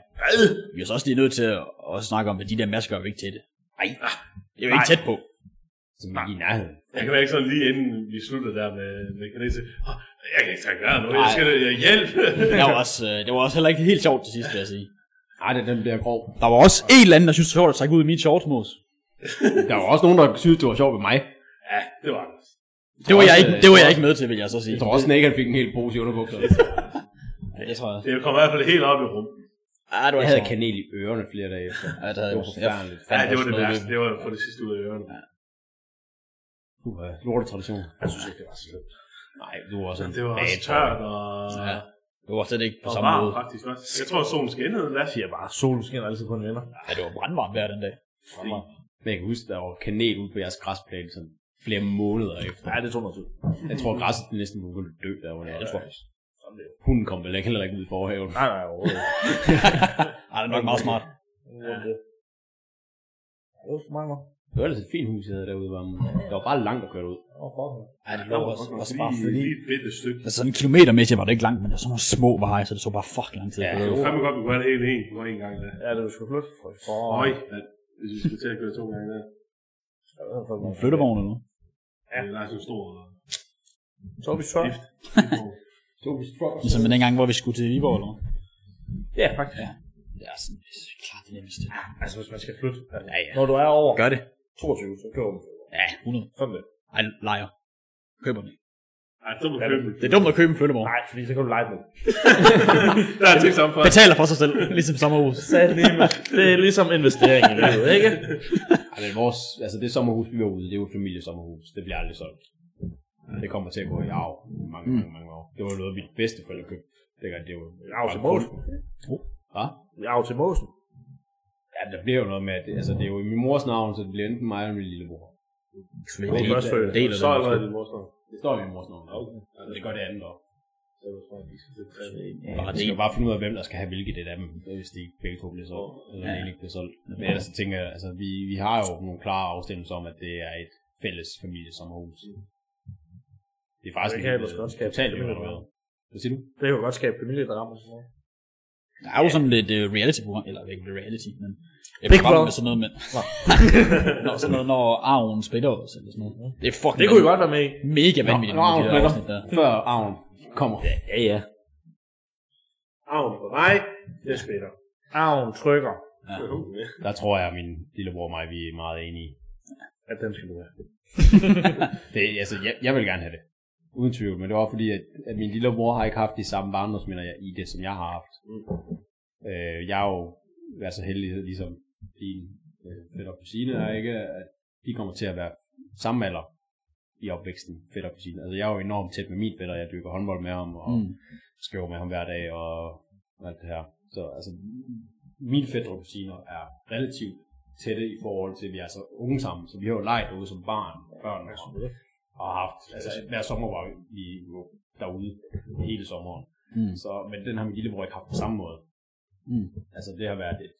B: Vi er så også lige nødt til at, at snakke om, at de der masker er jo ikke tætte. Nej, det er jo ikke tæt på.
E: Som gik i nærheden.
G: Jeg kan ikke sådan lige inden vi slutter der med, med kanel sige, "Åh, jeg kan ikke tage gøre nu, jeg skal øh, hjælp.
B: Det var, også, øh, det var også heller ikke helt sjovt til sidst, vil jeg sige.
E: Ej, det, den bliver grov.
B: Der var også en eller anden, der synes, det var sjovt at trække ud i min shortsmås.
E: Der var også nogen, der synes, det var sjovt ved mig.
G: ja, det var det.
B: Det var, jeg
E: også,
B: ikke,
E: øh,
B: det var
E: jeg
B: jeg
E: tror
B: ikke med til, vil jeg så sige.
E: Jeg tror også, at han fik en hel pose i underbukser.
B: Det tror jeg.
G: Det kom i hvert fald helt op i rummet.
B: Ah, det var
E: Jeg havde kanel i ørerne flere dage efter.
B: Ja, det havde
E: Det var
B: jeg også. Jeg
E: forfærdeligt.
G: Ja,
B: fandt
G: det var
B: også
G: det
B: noget
G: værste.
B: ved-
G: Det var for det sidste ud af ørerne.
E: Puh, lortet tradition.
G: Jeg synes ikke, det var så slemt.
E: Nej, du var også en
G: Det var også
E: bad boy.
G: tørt og,
B: Ja. Det var slet ikke på
G: og
B: samme måde.
G: varmt faktisk også. Jeg tror, solen skinnede endda.
F: Jeg siger bare, solen skinner altid på en vinder.
B: Ja, det var brandvarmt hver den dag.
E: Men jeg kan huske, der var kanel ude på jeres græsplæne sådan flere måneder efter.
F: Nej, det tog noget tid.
E: Jeg tror, græsset næsten var begyndt at dø der. Var
B: Ja, det tror jeg.
E: Hunden kom vel ikke- heller ikke ud i forhaven.
F: Nej, nej, overhovedet. ikke.
B: Ej, det er nok meget smart.
F: Det var for meget, hva'?
E: Det var ellers et fint hus, jeg havde derude. Var, det var bare langt at køre ud.
F: Åh, fuck.
B: Ja, det lå også, også bare
G: Lige-
B: fordi...
G: Lige et bitte stykke.
B: Altså sådan kilometermæssigt var det ikke langt, men der var sådan nogle små veje, så det tog bare fuck lang tid. Ja,
G: Det var fandme godt, vi kunne have det hele en på en gang der.
F: Ja, det var sgu flytte. For
G: Øj, hvis vi skulle til at køre to gange der.
B: en flyttevogn eller noget.
G: Ja. Der er sådan en stor...
F: Så var vi så.
B: Ligesom den gang, hvor vi skulle til Viborg eller noget.
F: Ja, faktisk.
B: Det er sådan, det er klart det nemmeste.
F: Altså, hvis man skal flytte.
B: Ja, ja.
F: Når du er over
B: Gør det.
F: 22, så kører man.
B: Ja, 100.
F: Sådan det.
B: Ej, lejer. Køber den ikke.
G: Ej, så må du købe den.
B: Det er dumt at købe en flyttevogn.
F: Nej, fordi så kan du lege med.
G: Der er ting sammen for.
B: Betaler for sig selv, ligesom sommerhus.
F: det er ligesom investering i livet, ikke?
E: Ej, men vores, altså det sommerhus, vi var ude, det er jo et familiesommerhus. Det bliver aldrig solgt.
B: Mm.
E: Det kommer til at gå i arv i mange, mange, mange år. Det var noget, mit bedste forældre købte. Det, gør, det var
F: Arv til Måsen.
E: Hvad?
F: Arv til Måsen.
E: Ja, der bliver jo noget med, at det, altså, det er jo i min mors navn, så det bliver enten mig eller min lillebror.
B: Det
F: Det er først født.
B: del af
G: Så
B: det.
G: er det vores navn.
E: Det står i min mors navn. Okay. Men det gør det andet også.
B: Bare
E: Og det
B: det.
E: skal jo bare finde ud af, hvem der skal have hvilket det der, hvis de begge to bliver solgt, eller ja. ikke bliver solgt. Men ellers så tænker jeg, altså vi, vi har jo nogle klare afstemmelser om, at det er et fælles familiesommerhus. Det er faktisk
F: Det kan ellers godt skabe
E: totalt
F: familie,
E: evalueret. Hvad siger du?
F: Det kan jo godt skabe familiedrama. og sådan noget.
B: Der er jo sådan lidt uh, reality-program, eller ikke reality, men et
F: Big
B: program
F: Brother.
B: med sådan noget med, når, sådan noget, når arven splitter os, eller sådan noget. Det er fucking
F: Mm. Det kunne I godt være med i.
B: vanvittigt. mega vanvittigt.
E: Nå,
B: med de
E: arven
B: der
E: splitter.
B: afsnit der.
E: Før arven kommer. Ja.
F: Ja, ja.
G: Arven på vej. Det er spætter.
F: Arven trykker,
E: Der tror jeg, at min lillebror og mig, vi er meget enige.
F: at den skal du have.
E: Det, altså, jeg, jeg vil gerne have det. Uden tvivl, men det var fordi, at, at min lillebror har ikke haft de samme barndomsminder jeg- i det, som jeg har haft. Øh, jeg har jo været så heldig, ligesom din øh, fætter og kusine er, ikke? At de kommer til at være samme alder i opvæksten, fætter og kusine. Altså, jeg er jo enormt tæt med min fætter, jeg dykker håndbold med ham, og
B: Mm.
E: mm. skriver med ham hver dag, og alt det her. Så altså, mine fætter og kusiner er relativt tætte i forhold til, at vi er så unge sammen, så vi har jo leget ude som barn, børn og, og haft, altså hver sommer var vi jo derude hele sommeren.
B: Mm.
E: Så, men den har min lillebror ikke haft på samme måde.
B: Mm.
E: Altså det har været et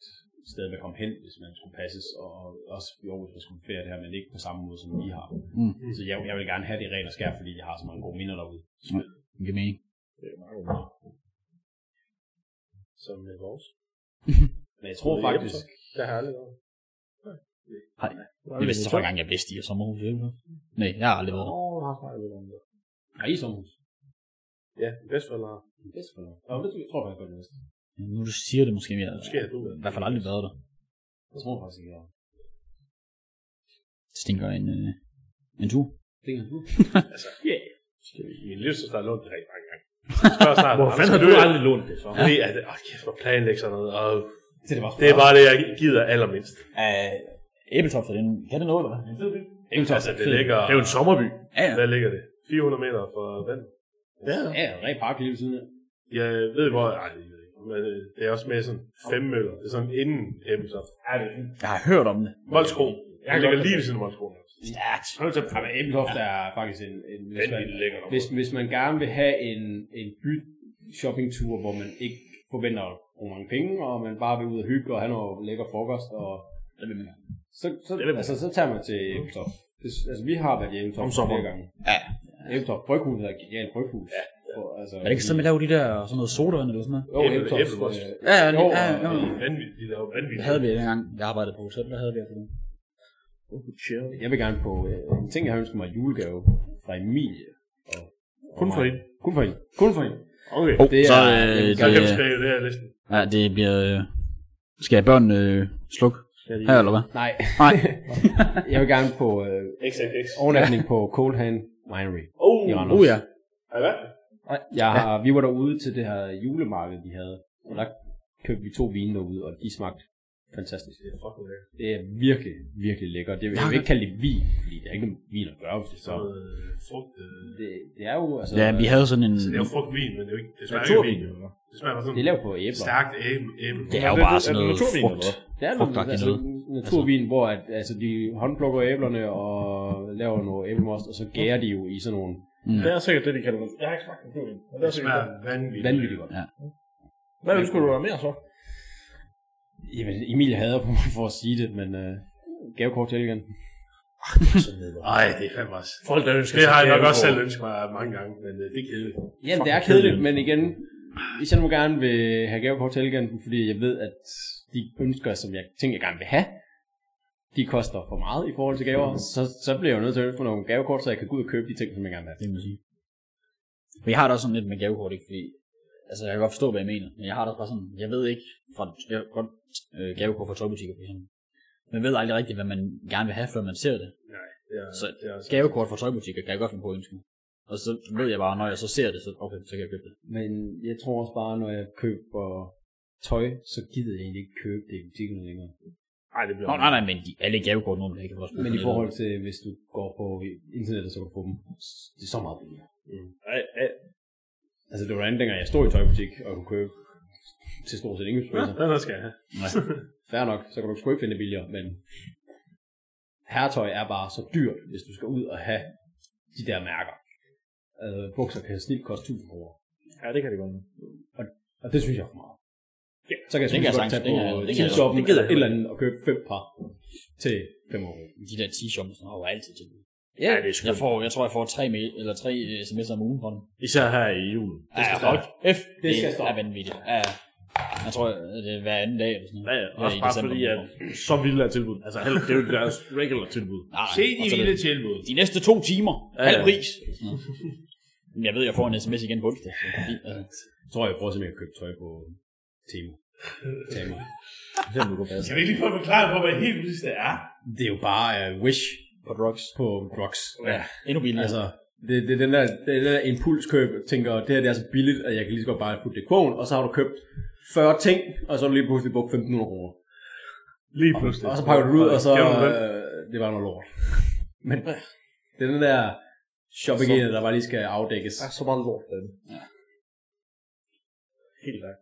E: sted, man kom hen, hvis man skulle passes, og også i Aarhus, hvis man skulle ferie det her, men ikke på samme måde, som vi har.
B: Mm.
E: Så jeg, jeg vil gerne have det i ren og skær, fordi jeg har så mange gode minder derude.
B: Det giver mening.
F: Som med vores.
E: øh, Men jeg tror
F: Det er
E: faktisk,
F: Det har jeg aldrig været.
B: Det vidste jeg, gang jeg vidste, i sommerhus. ikke? Nej, jeg har aldrig været der.
F: Åh, jeg har snakket lidt om det.
E: nej, i sommerhus.
F: Ja, bedstforældre.
E: Det er sgu nok. Nå, det tror jeg tror faktisk, jeg næste.
B: Ja, Nu du siger det måske mere.
F: Måske har du
B: I hvert fald aldrig været der.
E: Jeg tror faktisk ikke, jeg har.
B: Det stinker en, øh, en tur.
E: Det kan du.
H: Min livssøster har lånt det rigtig mange gange. Spørg snart,
F: Hvor fanden har du aldrig lånt det så?
H: Fordi at, åh kæft, hvor planlægge sådan noget. Og
E: Det, det var sgu
H: det er bare det, jeg gider allermindst.
B: Øh, Æbeltoft, er det en, kan det noget, eller?
H: Altså, det ligger...
F: Det er jo en sommerby.
B: Ja, ja.
H: Hvad ligger det? 400 meter fra vandet.
F: Ja.
E: Ja, rent park lige ved siden af.
H: Jeg ved hvor... Ej, det ved jeg ikke. Men øh, det er også med sådan fem møller. Det er sådan inden Æbeltoft.
F: Ja, det er fint.
B: Jeg har hørt om det.
H: Molskro.
F: Jeg
H: Det
F: kan
H: ligger
F: godt
H: lige ved siden af Molskro.
B: Stærkt.
F: Hold til
E: Ja, men Æbelhoft ja. er faktisk en... en hvis, man,
H: Vanvittigt lækkert.
E: hvis, hvis man gerne vil have en, en by shoppingtur, hvor man ikke forventer at bruge mange penge, og man bare vil ud og hygge og have noget lækker frokost, og
B: Det vil man gerne.
E: så, så,
F: Det vil man.
E: altså, så tager man til Æbelhoft. Det, altså, vi har været i
F: Om
E: Æbelhoft
F: sommeren.
E: flere gange.
B: Ja.
E: Æbelhoft Bryghus er et genialt bryghus. Ja. For, altså,
B: Er det ikke sådan, at laver de der sådan noget sodavand eller sådan noget?
E: Jo,
H: Æble-
E: Æbelhoft.
H: æblemost?
E: øh,
B: Ja, ja,
E: Jo,
B: ja,
E: og-
B: ja.
H: Vanvittigt. De laver
B: Det
H: vanvittigt.
B: havde vi dengang, jeg arbejdede på hotel, der havde vi altså det.
E: Jeg vil gerne på øh, en ting, jeg har ønsket mig i julegave fra Emilie. Og, og
F: Kun for
E: mig.
F: hende?
E: Kun for en. Kun for en.
F: Okay.
B: Oh,
E: Det er-
B: så,
E: det
B: øh,
E: er-
B: det,
H: Jeg kan skrive det her listen.
B: ja, det bliver... Øh, skal børn øh, slukke her, eller hvad?
E: Nej,
B: Nej.
E: jeg vil gerne på øh,
H: XXX.
E: overnatning på Cold Hand Winery.
H: Oh,
E: i Randers.
B: Uh, ja.
H: har I været?
E: Jeg har, Vi var derude til det her julemarked, de havde. Og der købte vi to vine derude, og de smagte fantastisk. Det er, det er virkelig, virkelig lækkert. Det, jeg vil ikke kalde det vin, fordi det er ikke en vin at gøre, hvis det så.
H: Noget frugt. øh,
E: Det, det er jo altså...
B: Ja, vi havde sådan en...
H: Det er jo frugtvin, men det er jo ikke... Det smager ikke af
E: naturvin,
H: vin.
E: jo.
H: Det smager bare sådan...
E: Det er lavet på æbler.
H: Stærkt æble. æble.
B: Det er jo bare sådan noget frugt.
E: Det er noget,
B: Frugtagtigt
E: altså, naturvin, hvor at, altså, de håndplukker æblerne og laver noget æblemost, og så gærer de jo i sådan nogle
F: Det er sikkert det, de kalder det. Jeg har ikke smagt den på men det er
H: Det
F: sikkert
H: smager
F: det.
H: vanvittigt.
E: vanvittige godt.
F: Hvad ønsker du dig mere så?
E: Jamen, Emil hader på mig for at sige det, men øh, gavekort til igen.
H: Ej, det er fandme også.
F: Folk, der ønsker
H: Det har jeg
F: gave
H: nok også
F: for-
H: selv ønsket mig mange gange, men øh, det er kedeligt.
E: Jamen, det er kedeligt, men igen, hvis jeg nu gerne vil have gavekort til igen, fordi jeg ved, at de ønsker, som jeg tænker, jeg gerne vil have, de koster for meget i forhold til gaver, så, så bliver jeg jo nødt til at få nogle gavekort, så jeg kan gå ud og købe de ting, som jeg gerne vil have.
B: Det kan man sige. Men jeg har det også sådan lidt med gavekort, ikke? Fordi, altså, jeg kan godt forstå, hvad jeg mener, men jeg har det også bare sådan, jeg ved ikke, fra, jeg kan godt øh, gavekort fra tøjbutikker, for eksempel. Man ved aldrig rigtigt, hvad man gerne vil have, før man ser det.
H: Ja,
B: Så
H: det er også-
B: gavekort fra tøjbutikker kan jeg godt finde på at ønske. Og så ved jeg bare, når jeg så ser det, så, okay, så kan jeg købe det.
E: Men jeg tror også bare, når jeg køber tøj, så gider jeg egentlig ikke købe det i butikken længere.
F: Ej, det bliver...
B: Nå, nej, nej, men de, alle gavekort nu, det kan man også
E: Men i forhold til, hvis du går på internettet, så kan du få dem. Det er så meget billigere.
F: Ej, ej.
E: Altså, det var andet, dengang jeg stod i tøjbutik og kunne købe til stort set ingen priser.
H: Den her skal jeg have.
E: Fair nok, så kan du sgu ikke finde det billigere, men herretøj er bare så dyrt, hvis du skal ud og have de der mærker. Øh, bukser kan snit koste 1000 kroner,
F: Ja, det kan det godt.
E: og det synes jeg er for meget.
F: Ja,
E: så kan jeg
B: det
E: sgu
B: kan jeg
E: godt tage
B: sagtens- det kan jeg-
E: på
B: det kan jeg-
E: t-shoppen
B: det gider
E: eller et eller
B: jeg
E: andet og købe fem par til 5 euro.
B: De der t-shirts, der har jo altid til.
F: Ja, det er
B: Jeg,
F: skønt.
B: får, jeg tror, jeg får tre, mail, eller tre øh, sms'er om ugen fra dem.
F: Især her i julen.
B: Det skal stoppe. F, det
E: skal
B: skal
E: stoppe.
B: er vanvittigt. Ja, ja. jeg tror, øh, det er hver anden dag. Eller sådan
F: Ja,
B: noget.
F: ja.
B: Her
F: Også
B: i
F: bare
B: december.
F: fordi, at så vildt er tilbud. Altså, heller- det er jo deres regular tilbud.
B: Nej,
H: Se
B: og
H: de
B: så det-
H: vilde tilbud.
B: De næste to timer.
F: Ja,
B: Ja,
F: ja.
B: halv pris. Ja. Men jeg ved, jeg får en sms igen på onsdag. så det er fint, altså.
E: Jeg tror, jeg prøver simpelthen at købe tøj på Temo. Temo.
H: Kan vi ikke lige få forklaret på, hvad helt vildt det er?
E: Det er jo bare uh, Wish på drugs. På drugs. Ja.
B: Endnu billigere. Altså,
E: Altså, det, det, er den der, det er den der impulskøb, Jeg tænker, det her det er så billigt, at jeg kan lige så godt bare putte det i kogen, og så har du købt 40 ting, og så har du lige pludselig brugt 1.500 kroner.
H: Lige pludselig.
E: Og så pakker du det ud, og så...
H: Gennem den.
E: Øh, det var noget lort. Men det er den der shopping der bare lige skal afdækkes.
F: så meget lort, den. Helt klart.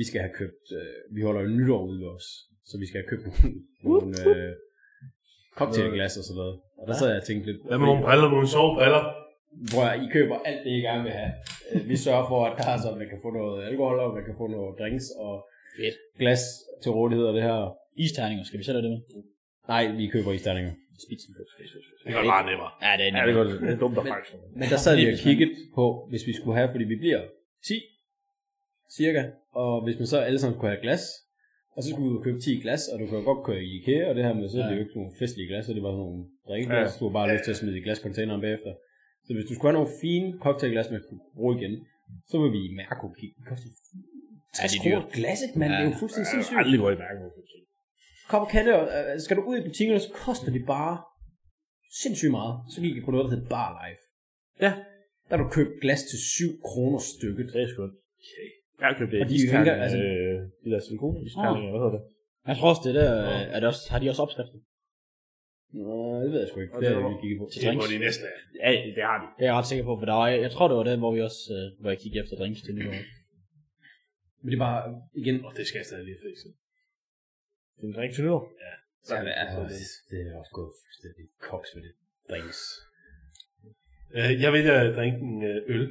E: vi skal have købt, øh, vi holder jo nytår ude ved os, så vi skal have købt nogle, nogle øh, cocktailglas og sådan noget. Og der sad jeg og tænkte lidt,
H: Hvad med nogle briller, nogle sovebriller?
E: bror, I køber alt det, I gerne vil have. Øh, Vi sørger for, at der er sådan, man kan få noget alkohol, og man kan få noget drinks og Fedt. glas til rådighed og det her.
B: Isterninger, skal vi selv have det med?
E: Nej, vi køber isterninger. Spidsen
H: Det er bare nemmere.
B: Ja, det er
F: Ja, det er godt. Det er dumt at faktisk.
E: Men der sad vi og kiggede på, hvis vi skulle have, fordi vi bliver 10 cirka, og hvis man så alle sammen kunne have glas, og så skulle vi ud og købe 10 glas, og du kan jo godt køre i IKEA, og det her med, så er det jo ikke nogle festlige glas, så det var sådan nogle drikkeglas, ja. du har bare lyst til at smide i glascontaineren bagefter. Så hvis du skulle have nogle fine cocktailglas, man kunne bruge igen, så vil vi i Mærko kigge. Det koster 60 kroner glasset, mand. Ja. Det er jo fuldstændig sindssygt.
F: Aldrig går i mærke med
E: Kom og kande, og, øh, skal du ud i butikkerne, så koster det bare sindssygt meget. Så gik jeg på noget, der hed Bar Life. Ja. Der har du købt glas til 7 kroner stykket.
F: Det er sgu. Jeg har købt det.
E: Og de
F: De
E: hænker,
F: hænger,
E: altså-
F: altså... Øh, de der silikonistærninger, hvad hedder det?
B: Jeg tror også, det der, øh, er det også, har de også opskrifter?
E: Nå, det ved jeg sgu ikke. Det har jeg ikke kigget på.
B: Til drinks?
H: næsten er.
F: Ja, det har de.
B: Det er jeg ret sikker på, for der var, jeg tror, det var den, hvor vi også, øh, hvor jeg kiggede efter drinks til nytår.
E: Men det er bare, igen,
H: Og det skal jeg stadig lige fikse.
F: Det er en drink til nytår.
E: så er det, altså, det er også gået fuldstændig koks med det. Drinks.
H: Øh, jeg vælger at drikke en øh, øl.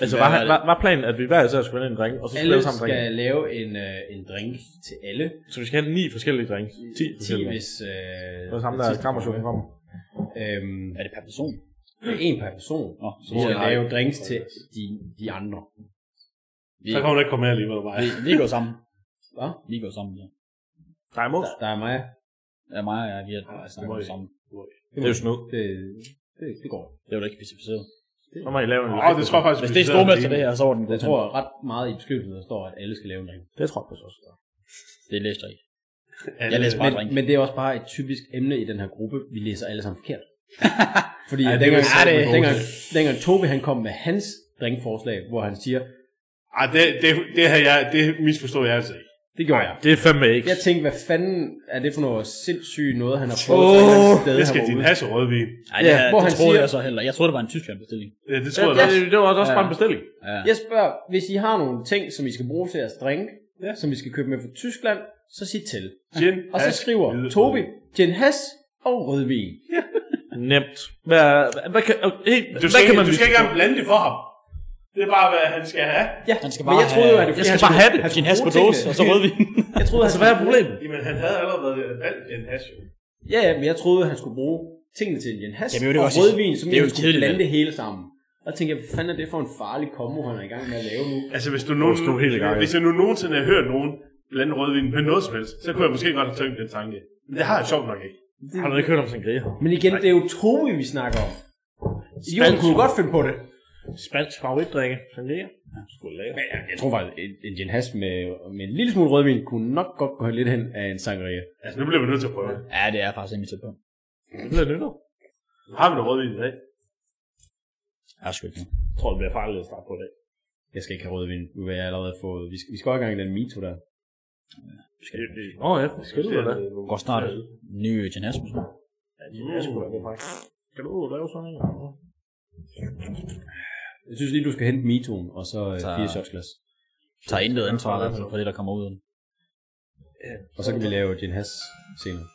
F: Altså, var, var, var planen, at vi hver især skulle vælge en drink, og så skulle
E: Alle
F: vi alle sammen drikke?
E: skal lave en, øh, en drink til alle.
F: Så vi skal have ni forskellige drinks. Ti
E: 10,
F: forskellige drinks.
E: hvis... Øh,
F: Det var samme, der
E: hvis-
F: krammer chokolade frem.
E: Øhm,
B: Er det per person?
E: det er en per person.
B: Nå,
E: Så vi skal lave drinks til de, de andre.
H: Så kan hun ikke komme her lige med mig.
B: vi, vi går sammen.
E: Hvad?
B: Vi går sammen, ja.
F: Drej mos.
E: Der er mig.
B: Ja, mig og jeg, vi er ja,
H: det må
B: snakket
H: I.
B: sammen.
F: Det er jo snyd.
E: Det, det, det går.
B: Det var da ikke specificeret.
F: Så må I lave en
H: Åh, det tror jeg faktisk...
B: Hvis det er stormester det her, så var den
E: Jeg tror ret meget i beskrivelsen, der står, at alle skal lave en drink.
F: Det tror jeg faktisk også.
B: Det læste jeg ikke.
H: Alle-
B: Jeg læste bare
E: Men,
B: drink.
E: men det er også bare et typisk emne i den her gruppe. Vi læser alle sammen forkert. Fordi
H: Ej,
E: ja,
H: det
E: dengang, Ah,
H: vil jeg
E: det,
H: satme gå
E: dengang, dengang Tobi han kom med hans drinkforslag, hvor han siger,
H: Ej, det, det, det, her, jeg, det misforstod jeg altså ikke.
E: det gjorde jeg.
F: Det er fandme ikke.
E: Jeg tænkte, hvad fanden er det for noget sindssygt noget, han har fået oh, et eller andet sted
H: Det skal din
E: herude?
H: hasse rødvin.
B: Ej, det,
E: Ja,
B: ja,
E: hvor
B: det
E: han
B: troede
E: siger-
B: jeg så heller. Jeg troede, det var en tysk bestilling.
H: Ja, det
F: Ja,
H: tror jeg
F: ja,
H: også.
F: det, det var også bare en bestilling.
E: Jeg spørger, hvis I har nogle ting, som I skal bruge til jeres drink, ja. som I skal købe med fra Tyskland, så sig til.
H: Gin,
E: Og så
H: hash,
E: skriver
H: hvide
E: Tobi,
H: rødvin.
E: gin has og rødvin.
F: Nemt. Hvad, hvad, hvad kan,
H: Du
F: hey, hvad
H: skal,
F: kan
H: ikke,
F: man
H: du skal ikke engang blande det for ham. Det er bare, hvad han skal have.
E: Ja,
B: Han skal
E: men
B: bare
E: jeg troede jo,
B: have-
E: at det var,
F: Jeg skal
E: fordi, han
F: bare
E: skulle-
F: have det.
E: han
B: Gin
E: skulle
B: has på
E: bruge
B: dåse,
E: tingene.
B: og så rødvin.
E: Jeg troede, altså,
F: Hvad er problemet?
H: Jamen, han havde allerede valgt en hash. jo.
E: Ja, ja, men jeg troede, han skulle bruge tingene til en has
B: Jamen, det er jo
E: og
B: også-
E: rødvin, som
B: det er
E: jeg
B: jo
E: skulle
B: kedeligt,
E: blande
B: vel?
E: det hele sammen. Og jeg tænkte, jeg, hvad fanden er det for en farlig kombo, han er i gang med at lave nu?
H: Altså, hvis du, nogen,
F: stod helt i gang, ja.
H: hvis jeg nu nogensinde har hørt nogen blande rødvin med noget som helst, så kunne jeg måske godt have tænkt den tanke. Men det har jeg sjovt nok ikke.
F: Har du ikke hørt om sangria?
E: Men igen, det er jo Tobi, vi snakker om. Idioten kunne jo godt finde på det.
F: Spansk favoritdrikke. Sangria. Sgu lækkert.
E: Men jeg, jeg tror faktisk, en, en gin has med, med en lille smule rødvin kunne nok godt gå lidt hen af en sangria.
H: Altså, nu bliver vi nødt til at prøve.
B: Ja, det er faktisk rimelig tæt på.
F: Det bliver nytår.
H: Har vi noget rødvin i dag?
B: Jeg er sgu ikke.
F: Jeg tror, det bliver farligt at starte på det.
E: Jeg skal ikke have rødvin. Nu har jeg allerede fået... Vi skal, vi skal også i gang i den mito der.
F: Åh oh, ja, skal du da.
B: Går snart ny gin has måske.
F: Ja, sgu da. Skal du ud og lave sådan en?
E: Jeg synes lige, du skal hente mitoen, og så øh,
B: Så-
E: fire shots glas.
B: Tager intet ansvar i hvert fald for det, der kommer ud af den.
E: Og så kan vi lave gin has senere.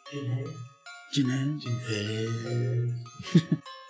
B: Gin has.